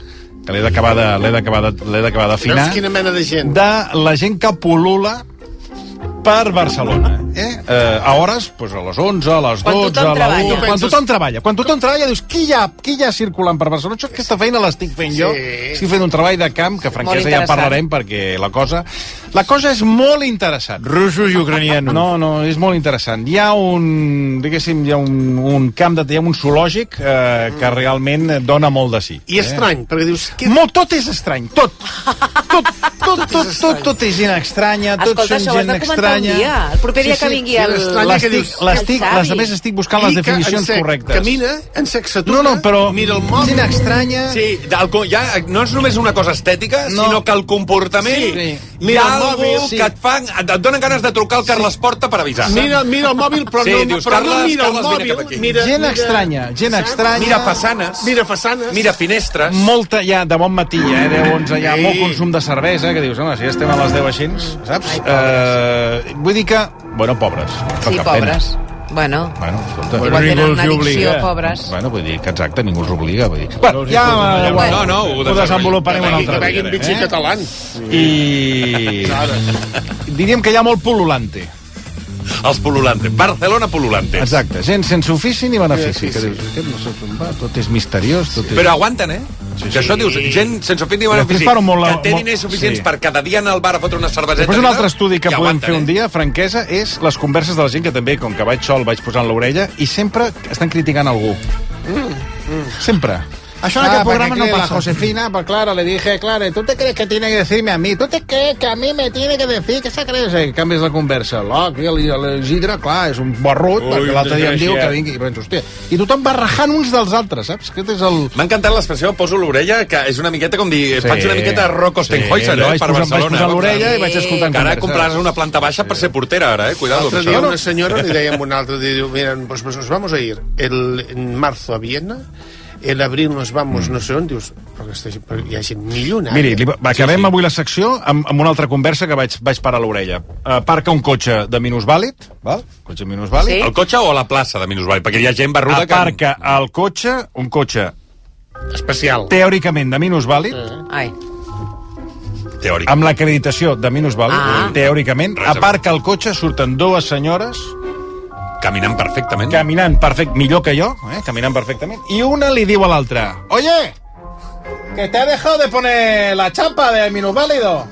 [SPEAKER 3] que l'he d'acabar de, l'he d'acabar de, l'he d'acabar d'afinar,
[SPEAKER 12] Veus quina mena de gent?
[SPEAKER 3] de la gent que pulula per Barcelona. Eh? Eh, a hores, doncs a les 11, a les 12,
[SPEAKER 25] Quan
[SPEAKER 3] a
[SPEAKER 25] tothom
[SPEAKER 3] la
[SPEAKER 25] treballa.
[SPEAKER 3] 1... Quan tothom treballa. Quan tothom treballa dius, qui hi ha, qui hi ha circulant per Barcelona? Això, aquesta feina l'estic fent jo.
[SPEAKER 25] Sí.
[SPEAKER 3] Estic fent un treball de camp que, franquesa, ja
[SPEAKER 25] interessant.
[SPEAKER 3] parlarem perquè la cosa... La cosa és molt interessant. Russos i ucranianos. No, no, és molt interessant. Hi ha un, diguéssim, hi ha un, un camp de... Hi ha un zoològic eh, que realment dona molt de eh? sí.
[SPEAKER 12] I estrany, perquè dius...
[SPEAKER 3] Que... Molt, tot és estrany, tot. Tot, tot, tot, tot, tot és gent estranya, tot
[SPEAKER 5] Escolta,
[SPEAKER 3] són
[SPEAKER 5] això ho has
[SPEAKER 3] gent
[SPEAKER 5] de comentar un
[SPEAKER 3] estranya.
[SPEAKER 5] dia, el proper dia que vingui el-
[SPEAKER 3] L'estic,
[SPEAKER 5] L'estic- l'estic-
[SPEAKER 3] l'estic,
[SPEAKER 5] el savi.
[SPEAKER 3] les, a més, estic buscant les
[SPEAKER 12] Pica,
[SPEAKER 3] definicions
[SPEAKER 12] ensec,
[SPEAKER 3] correctes.
[SPEAKER 12] Camina, en sec,
[SPEAKER 3] No, no, però... Mira el
[SPEAKER 12] mòbil.
[SPEAKER 3] Gent estranya...
[SPEAKER 4] Sí, el, co- ja no és només una cosa estètica, no. sinó que el comportament... Sí.
[SPEAKER 12] Sí.
[SPEAKER 4] Mira, hi
[SPEAKER 12] Mira
[SPEAKER 4] ha
[SPEAKER 12] el
[SPEAKER 4] algú
[SPEAKER 12] mòbil, sí.
[SPEAKER 4] que et, fa, et, et donen ganes de trucar al Carles Porta per avisar.
[SPEAKER 12] Mira, mira el mòbil, però,
[SPEAKER 4] sí,
[SPEAKER 12] no,
[SPEAKER 4] dius,
[SPEAKER 12] però
[SPEAKER 4] Carles,
[SPEAKER 12] no mira
[SPEAKER 4] Carles,
[SPEAKER 12] el
[SPEAKER 4] vine
[SPEAKER 12] mòbil.
[SPEAKER 4] cap aquí.
[SPEAKER 12] mira,
[SPEAKER 3] Gent
[SPEAKER 12] mira,
[SPEAKER 3] estranya, gent
[SPEAKER 12] saps?
[SPEAKER 3] estranya.
[SPEAKER 12] Mira
[SPEAKER 4] façanes.
[SPEAKER 12] Mira façanes.
[SPEAKER 4] Mira finestres.
[SPEAKER 3] Molta, ja, de bon matí, ja, eh, 10, 11, ja,
[SPEAKER 12] Sí.
[SPEAKER 3] molt consum de cervesa, que dius, home, si ja estem a les 10 així, saps? eh, vull dir que... Bueno, pobres. Però
[SPEAKER 5] Sí,
[SPEAKER 3] cap pena.
[SPEAKER 5] pobres. Bueno,
[SPEAKER 3] Bueno, escolta,
[SPEAKER 5] Igual tenen ningú una els hi addicció, obliga. pobres.
[SPEAKER 3] Bueno, vull dir que exacte, ningú els obliga. Vull dir. Bueno, ja,
[SPEAKER 12] ja,
[SPEAKER 3] ja,
[SPEAKER 12] no, no, ho
[SPEAKER 3] ho desenvoluparem
[SPEAKER 12] Que
[SPEAKER 3] un
[SPEAKER 12] vegui-
[SPEAKER 3] altre
[SPEAKER 12] que vegui
[SPEAKER 3] dia.
[SPEAKER 12] un bitxí català.
[SPEAKER 3] I... Diríem que hi ha molt pol·lulante.
[SPEAKER 4] Els pol·lulante. Barcelona pol·lulante.
[SPEAKER 3] Exacte, gent sense ofici ni
[SPEAKER 4] Sí,
[SPEAKER 3] benefici.
[SPEAKER 4] sí,
[SPEAKER 3] Que
[SPEAKER 4] sí.
[SPEAKER 3] dius, aquest no sap on va, tot és misteriós, tot és...
[SPEAKER 4] Però aguanten, eh? Sí, que això dius, gent sense ofit ni benefici,
[SPEAKER 3] Després paro molt la-
[SPEAKER 4] que té
[SPEAKER 3] molt-
[SPEAKER 4] diners suficients
[SPEAKER 3] sí.
[SPEAKER 4] sí. per cada dia anar al bar a fotre una cerveseta.
[SPEAKER 3] Després
[SPEAKER 4] i
[SPEAKER 3] un
[SPEAKER 4] tal,
[SPEAKER 3] altre estudi
[SPEAKER 4] i
[SPEAKER 3] que podem
[SPEAKER 4] aguanten, eh?
[SPEAKER 3] fer un dia, franquesa, és les converses de la gent que també, com que vaig sol, vaig posant l'orella i sempre estan criticant algú. Sempre.
[SPEAKER 25] Mm,
[SPEAKER 3] Ah,
[SPEAKER 25] Això en aquest programa no
[SPEAKER 3] La
[SPEAKER 25] passa.
[SPEAKER 3] Josefina, pues claro, le dije, claro, ¿tú te crees que tiene que decirme a mí? ¿Tú te crees que a mí me tiene que decir? ¿Qué se crees? Eh, canvies la conversa. L'Oc i el- el Isidre, clar, és un barrut,
[SPEAKER 4] Ui,
[SPEAKER 3] perquè l'altre dia em diu que
[SPEAKER 4] desgraciat.
[SPEAKER 3] vingui. I penso, hòstia, I tothom va rajant uns dels altres, saps? Aquest és el...
[SPEAKER 4] M'ha encantat l'expressió poso l'orella, que és una miqueta com dir,
[SPEAKER 3] Sí.
[SPEAKER 4] sí. faig una miqueta Rocco
[SPEAKER 3] Sí,
[SPEAKER 4] Stenhäuser,
[SPEAKER 3] jo
[SPEAKER 4] eh,
[SPEAKER 3] vaig
[SPEAKER 4] per
[SPEAKER 3] posar- vaig
[SPEAKER 4] Barcelona.
[SPEAKER 3] posar l'orella i vaig escoltant
[SPEAKER 4] Que ara
[SPEAKER 3] converses.
[SPEAKER 4] compraràs una planta baixa per ser portera, ara, eh? Cuidado.
[SPEAKER 12] L'altre
[SPEAKER 4] amb
[SPEAKER 12] dia
[SPEAKER 4] això.
[SPEAKER 12] una senyora li deia a un altre, dia, diu, mira, pues, pues nos vamos a ir el, en marzo a Viena, el abril nos vamos no sé on, dius, però, aquesta, gent- però hi ha gent milionària.
[SPEAKER 3] Mm. Miri, li, va, acabem sí, sí. avui la secció amb, amb una altra conversa que vaig, vaig parar a l'orella. Uh, parca un cotxe de minusvàlid, val? cotxe minusvàlid.
[SPEAKER 4] Sí. El cotxe o a la plaça de Minusvall? Perquè hi ha gent barruda
[SPEAKER 3] Aparca el cotxe, un cotxe
[SPEAKER 12] especial,
[SPEAKER 3] teòricament de minusvàlid, mm.
[SPEAKER 5] ai.
[SPEAKER 4] Teòric.
[SPEAKER 3] amb l'acreditació de minusvàlid,
[SPEAKER 5] Ah.
[SPEAKER 3] ah. teòricament,
[SPEAKER 4] Res a
[SPEAKER 3] aparca el cotxe, surten dues senyores...
[SPEAKER 4] que caminant perfectament.
[SPEAKER 3] Caminant perfect, millor que jo, eh? caminant perfectament, i una li diu a l'altra... Oye, que te ha dejado de poner la chapa de minusválido.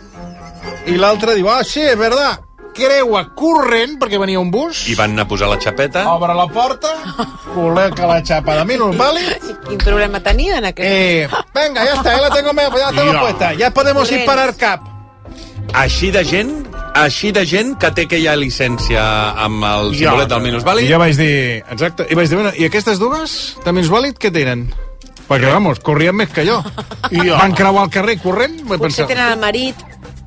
[SPEAKER 3] I l'altra diu, ah, sí, és verdad. Creua corrent, perquè venia un bus,
[SPEAKER 4] I van anar a posar la xapeta.
[SPEAKER 3] Obre la porta, col·loca la xapa de minus, ¿vale?
[SPEAKER 5] Quin problema tenia en aquest...
[SPEAKER 3] Eh, venga, ya está, ya la tengo, me- ya la tengo
[SPEAKER 4] No.
[SPEAKER 3] puesta. Ya podemos ir para el cap.
[SPEAKER 4] Així de gent així de gent que té que hi ha llicència amb el
[SPEAKER 3] Ja.
[SPEAKER 4] simbolet del minusvàlid.
[SPEAKER 3] I jo vaig dir, exacte, i vaig dir, bueno, i aquestes dues de minusvàlid què tenen? Perquè, vamos, corrien més que jo.
[SPEAKER 12] Ja.
[SPEAKER 3] Van creuar el carrer corrent, vaig
[SPEAKER 5] Potser
[SPEAKER 3] pensar...
[SPEAKER 5] tenen el marit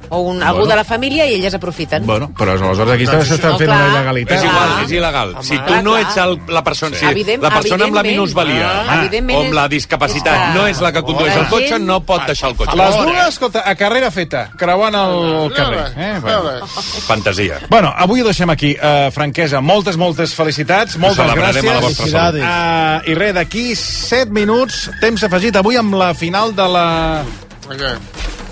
[SPEAKER 5] o un, algú
[SPEAKER 3] Bueno.
[SPEAKER 5] de la família i elles aprofiten.
[SPEAKER 3] Bueno, però aleshores aquí
[SPEAKER 4] Doncs
[SPEAKER 3] s'estan
[SPEAKER 5] això-
[SPEAKER 3] fent
[SPEAKER 5] No,
[SPEAKER 3] una
[SPEAKER 5] clar.
[SPEAKER 3] il·legalitat.
[SPEAKER 4] És igual, és il·legal. si tu
[SPEAKER 5] clar,
[SPEAKER 4] no
[SPEAKER 5] clar.
[SPEAKER 4] ets el, la persona, sí.
[SPEAKER 5] Evident-
[SPEAKER 4] la persona amb la
[SPEAKER 5] evidentment.
[SPEAKER 4] minusvalia
[SPEAKER 5] Ah, evidentment
[SPEAKER 4] o amb la
[SPEAKER 5] és-
[SPEAKER 4] discapacitat
[SPEAKER 5] és que-
[SPEAKER 4] no és la que condueix
[SPEAKER 5] La
[SPEAKER 4] el cotxe,
[SPEAKER 5] gent-
[SPEAKER 4] no pot deixar el cotxe.
[SPEAKER 3] Les dues, escolta, a carrera feta, creuant el carrer. Eh? Bueno.
[SPEAKER 4] Fantasia.
[SPEAKER 3] Bueno, avui ho deixem aquí. Uh, franquesa, moltes, moltes felicitats, moltes
[SPEAKER 4] celebrarem
[SPEAKER 3] gràcies.
[SPEAKER 4] a la vostra salut.
[SPEAKER 3] Uh, I res, d'aquí 7 minuts, temps afegit avui amb la final de la...
[SPEAKER 12] Vinga.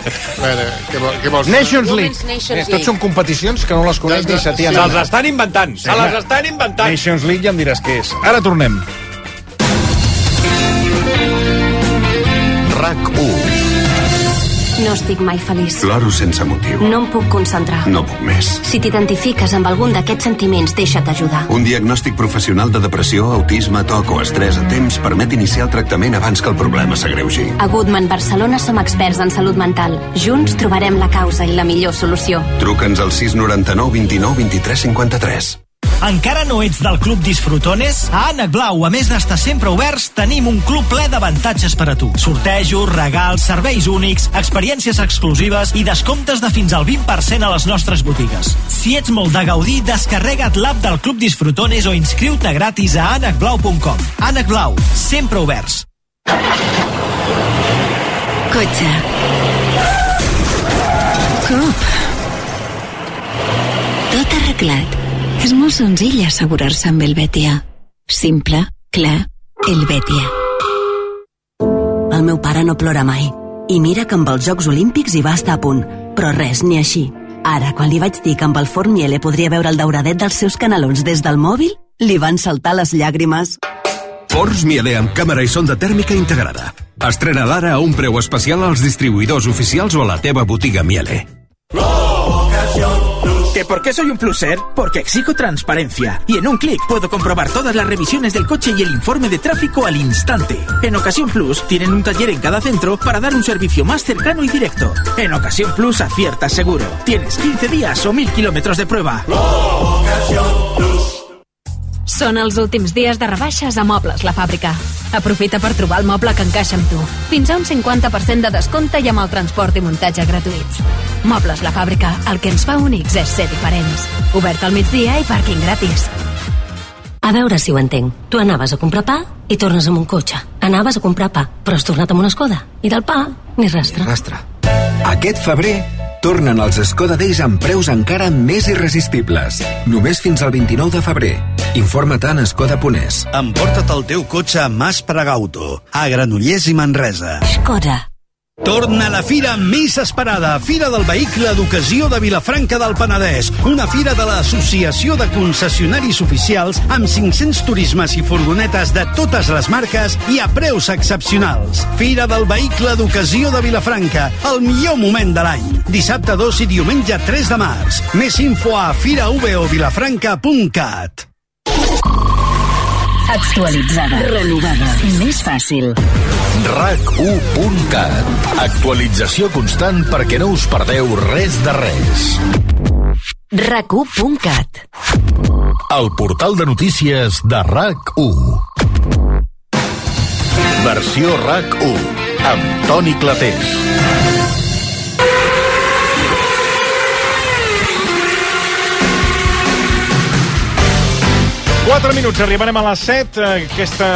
[SPEAKER 12] A veure, què, vol, què
[SPEAKER 4] Doncs
[SPEAKER 12] vols?
[SPEAKER 3] Nations League. Eh, Tot són competicions que no les coneix ni Setién.
[SPEAKER 12] Se'ls
[SPEAKER 4] estan inventant.
[SPEAKER 12] se les estan
[SPEAKER 4] inventant.
[SPEAKER 3] Nations League ja em diràs què és. Ara tornem.
[SPEAKER 19] RAC 1.
[SPEAKER 1] No
[SPEAKER 15] no estic mai feliç.
[SPEAKER 26] Ploro sense motiu.
[SPEAKER 15] No em puc concentrar.
[SPEAKER 26] No puc més.
[SPEAKER 15] Si t'identifiques amb algun d'aquests sentiments, deixa't ajudar.
[SPEAKER 26] Un diagnòstic professional de depressió, autisme, toc o estrès a temps permet iniciar el tractament abans que el problema s'agreugi.
[SPEAKER 15] A Goodman Barcelona som experts en salut mental. Junts trobarem la causa i la millor solució.
[SPEAKER 26] Truca'ns al 699 29 23 53.
[SPEAKER 27] Encara no ets del Club Disfrutones? A Ànec Blau, a més d'estar sempre oberts, tenim un club ple d'avantatges per a tu. Sortejos, regals, serveis únics, experiències exclusives i descomptes de fins al 20% a les nostres botigues. Si ets molt de gaudir, descarrega't l'app del Club Disfrutones o inscriu-te gratis a anacblau.com. Ànec Blau, sempre oberts.
[SPEAKER 15] Cotxe. Cop. Tot arreglat. És molt senzill assegurar-se amb el Betia. Simple, clar, el Betia.
[SPEAKER 14] El meu pare no plora mai. I mira que amb els Jocs Olímpics hi va estar a punt. Però res, ni així. Ara, quan li vaig dir que amb el Forn Miele podria veure el dauradet dels seus canalons des del mòbil, li van saltar les llàgrimes.
[SPEAKER 8] Forns Miele amb càmera i sonda tèrmica integrada. Estrena d'ara a un preu especial als distribuïdors oficials o a la teva botiga Miele.
[SPEAKER 28] ¿Que por qué soy un pluser? Porque exijo transparencia y en un clic puedo comprobar todas las revisiones del coche y el informe de tráfico al instante. En Ocasión Plus tienen un taller en cada centro para dar un servicio más cercano y directo. En Ocasión Plus aciertas seguro. Tienes 15 días o 1000 kilómetros de prueba.
[SPEAKER 16] Són els últims dies de rebaixes a Mobles La Fàbrica. Aprofita per trobar el moble que encaixa amb tu. Fins a un 50% de descompte i amb el transport i muntatge gratuïts. Mobles La Fàbrica, el que ens fa únics és ser diferents. Obert al migdia i pàrquing gratis.
[SPEAKER 15] A veure si ho entenc. Tu anaves a comprar pa i tornes amb un cotxe. Anaves a comprar pa, però has tornat amb una escoda. I del pa, ni rastre.
[SPEAKER 29] rastre. Aquest febrer tornen els Skoda Days amb preus encara més irresistibles. Només fins al 29 de febrer. Informa-te en Skoda Ponés.
[SPEAKER 23] Emporta't el teu cotxe a Mas Pregauto, a Granollers i Manresa.
[SPEAKER 15] Skoda.
[SPEAKER 23] Torna la fira més esperada, Fira del Vehicle d'Ocasió de Vilafranca del Penedès. Una fira de l'Associació de Concessionaris Oficials amb 500 turismes i furgonetes de totes les marques i a preus excepcionals. Fira del Vehicle d'Ocasió de Vilafranca, el millor moment de l'any. Dissabte 2 i diumenge 3 de març. Més info a firaovilafranca.cat.
[SPEAKER 15] Actualitzada. Renovada. Més fàcil.
[SPEAKER 19] RAC1.cat Actualització constant perquè no us perdeu res de res.
[SPEAKER 15] RAC1.cat
[SPEAKER 19] El portal de notícies de RAC1. Versió RAC1 amb Toni Clapés.
[SPEAKER 3] Quatre minuts, arribarem a les 7. Aquesta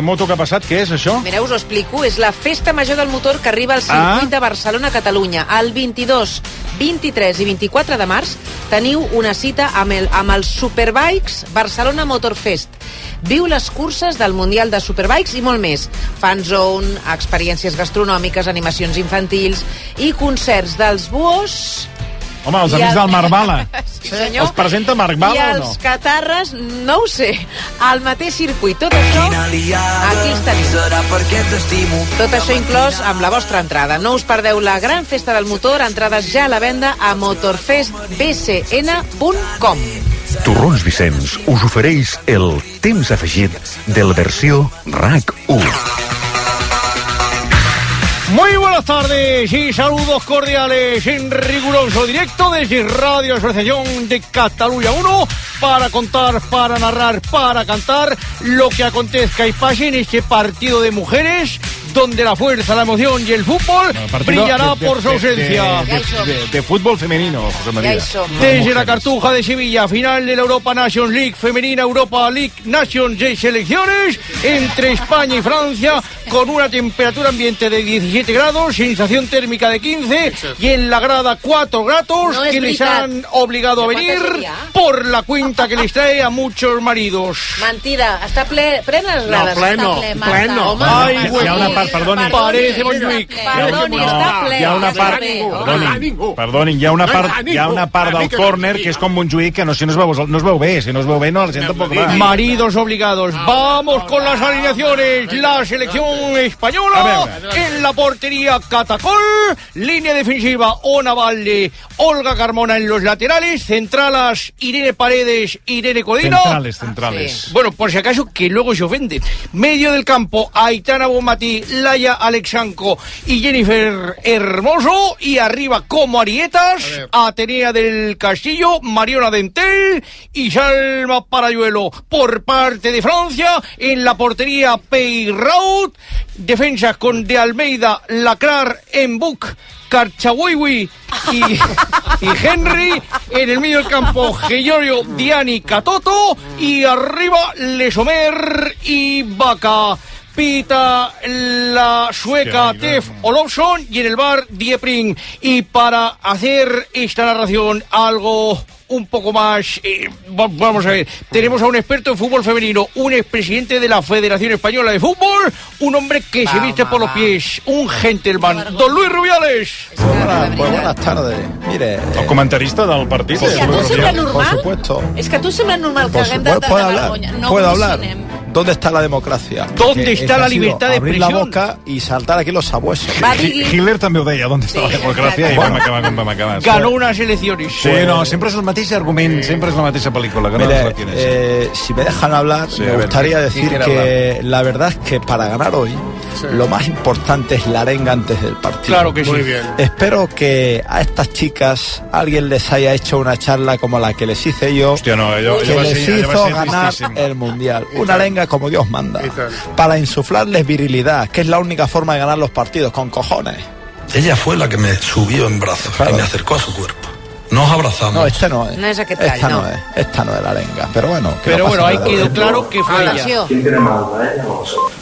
[SPEAKER 3] moto que ha passat, què és això?
[SPEAKER 5] Mireu, us ho explico. És la Festa Major del Motor que arriba al circuit
[SPEAKER 3] Ah.
[SPEAKER 5] de Barcelona-Catalunya. El 22, 23 i 24 de març teniu una cita amb el, amb el Superbikes Barcelona Motor Fest. Viu les curses del Mundial de Superbikes i molt més. Fan zone, experiències gastronòmiques, animacions infantils i concerts dels buos
[SPEAKER 3] Home, els
[SPEAKER 5] I
[SPEAKER 3] amics
[SPEAKER 5] el-
[SPEAKER 3] del Marc Bala.
[SPEAKER 5] Sí, senyor.
[SPEAKER 3] Els presenta Marc Bala
[SPEAKER 5] I
[SPEAKER 3] o
[SPEAKER 5] els
[SPEAKER 3] no?
[SPEAKER 5] catarres, no ho sé, al mateix circuit. Tot això, aquí els teniu. Tot això inclòs amb la vostra entrada. No us perdeu la gran festa del motor, entrades ja a la venda a motorfestbcn.com.
[SPEAKER 17] Torrons Vicenç us ofereix el temps afegit de la versió RAC1.
[SPEAKER 25] Muy buenas tardes y saludos cordiales en riguroso directo desde Radio Asociación de Cataluña 1 para contar, para narrar, para cantar lo que acontezca y pase en este partido de mujeres donde la fuerza, la emoción y el fútbol
[SPEAKER 3] Partido
[SPEAKER 25] brillará
[SPEAKER 3] de- de-
[SPEAKER 25] por su
[SPEAKER 3] de-
[SPEAKER 25] ausencia.
[SPEAKER 3] De, de, de, de fútbol femenino, José María.
[SPEAKER 25] Desde la Cartuja de Sevilla, final de la Europa Nations League femenina, Europa League Nations de selecciones entre España y Francia con una temperatura ambiente de 17 grados, sensación térmica de 15 y en la grada cuatro gatos
[SPEAKER 5] No es
[SPEAKER 25] que les
[SPEAKER 5] verdad.
[SPEAKER 25] han obligado a
[SPEAKER 5] ¿De cuánto
[SPEAKER 25] venir
[SPEAKER 5] sería?
[SPEAKER 25] por la cuenta que les trae a muchos maridos.
[SPEAKER 5] Mentida, està ple, plena les
[SPEAKER 25] No,
[SPEAKER 5] grades.
[SPEAKER 25] pleno,
[SPEAKER 5] està ple, Marta.
[SPEAKER 25] pleno.
[SPEAKER 5] Home,
[SPEAKER 25] Ai,
[SPEAKER 5] Marta,
[SPEAKER 25] huevo.
[SPEAKER 5] sí.
[SPEAKER 3] part, perdonin.
[SPEAKER 25] Parece Montjuïc.
[SPEAKER 3] Perdoni, està ple. Hi ha una part... Perdonin, perdonin, hi ha una part, hi ha una part del córner que és com Montjuïc, que no, si no es veu, no es veu bé, si no es veu bé, no, la gent tampoc va.
[SPEAKER 25] Maridos obligados. Vamos con las alineaciones. La selección española en la portería Catacol. Línea defensiva Ona Valle, Olga Carmona en los laterales. Centralas Irene Paredes, Irene Codino.
[SPEAKER 3] Centrales, centrales.
[SPEAKER 25] Bueno, por si acaso, que luego se ofende. Medio del campo, Aitana Bombatí, Laia Alexanco y Jennifer Hermoso. Y arriba, como Arietas, Atenea del Castillo, Mariona Dentel y Salma Parayuelo. Por parte de Francia, en la portería Peyraud. Defensas con De Almeida, Lacrar, Embuc. Carchawiwi y, y Henry. En el medio del campo, Giorgio, Diani, Catoto. Y arriba, Lesomer y Vaca. Pita la sueca Tef Olofsson y en el bar Diepring. Y para hacer esta narración algo un poco más. eh, va- vamos a ver. Tenemos a un experto en fútbol femenino, un expresidente de la Federación Española de Fútbol, un hombre que se viste por los pies, un gentleman, don Luis Rubiales.
[SPEAKER 2] Hola, pues buenas tardes. Mire.
[SPEAKER 3] El comentarista del
[SPEAKER 25] eh,
[SPEAKER 3] partit.
[SPEAKER 2] por
[SPEAKER 3] és
[SPEAKER 5] a tu
[SPEAKER 2] supuesto,
[SPEAKER 5] sembla
[SPEAKER 2] Por
[SPEAKER 5] normal?
[SPEAKER 2] supuesto.
[SPEAKER 5] És que a tu sembla normal que
[SPEAKER 2] Por
[SPEAKER 5] haguem de,
[SPEAKER 2] supuesto, puedo
[SPEAKER 5] de, de
[SPEAKER 2] hablar.
[SPEAKER 5] vergonya. No eh?
[SPEAKER 2] puedo hablar.
[SPEAKER 5] funcionem.
[SPEAKER 2] ¿Dónde está la democracia?
[SPEAKER 25] ¿Dónde
[SPEAKER 2] Que
[SPEAKER 25] está
[SPEAKER 2] este
[SPEAKER 25] la
[SPEAKER 2] ha sido
[SPEAKER 25] libertad de
[SPEAKER 2] abrir la
[SPEAKER 25] expresión?
[SPEAKER 2] boca y saltar aquí los sabuesos.
[SPEAKER 25] Va, digui.
[SPEAKER 3] Hitler també ho deia, d'on està la democràcia, i vam acabar com vam acabar.
[SPEAKER 25] Ganó unas elecciones.
[SPEAKER 3] Sí, no, sempre és el mateix argument, sempre és la mateixa pel·lícula, que no
[SPEAKER 2] Mire,
[SPEAKER 3] sé quina és.
[SPEAKER 2] eh, si me dejan hablar,
[SPEAKER 3] Sí, a
[SPEAKER 2] me
[SPEAKER 3] ver,
[SPEAKER 2] gustaría
[SPEAKER 3] ¿quién
[SPEAKER 2] decir
[SPEAKER 3] quiere
[SPEAKER 2] que la verdad es que para ganar hoy,
[SPEAKER 3] Sí.
[SPEAKER 2] lo más importante es la arenga antes del partido.
[SPEAKER 25] Claro que sí. Muy bien.
[SPEAKER 2] Espero que a estas chicas alguien les haya hecho una charla como la que les hice yo,
[SPEAKER 3] allò-
[SPEAKER 2] que
[SPEAKER 3] allò va
[SPEAKER 2] les
[SPEAKER 3] ser- allò va
[SPEAKER 2] hizo
[SPEAKER 3] ser
[SPEAKER 2] ganar
[SPEAKER 3] tristísimo.
[SPEAKER 2] el mundial. Una arenga como Dios manda, para insuflarles virilidad, que es la única forma de ganar los partidos, con cojones.
[SPEAKER 6] Ella fue la que me subió en brazos y me acercó a su cuerpo. Nos abrazamos.
[SPEAKER 2] No, este no es.
[SPEAKER 5] No és aquest tall,
[SPEAKER 2] Esta
[SPEAKER 5] no.
[SPEAKER 2] no es, esta no es la arenga, pero bueno. que no
[SPEAKER 25] Pero
[SPEAKER 2] pasa
[SPEAKER 25] bueno, ahí
[SPEAKER 5] Ah,
[SPEAKER 2] nada.
[SPEAKER 25] quedó claro que fue ella.
[SPEAKER 6] ¿Quién tiene más alma, ella o nosotros?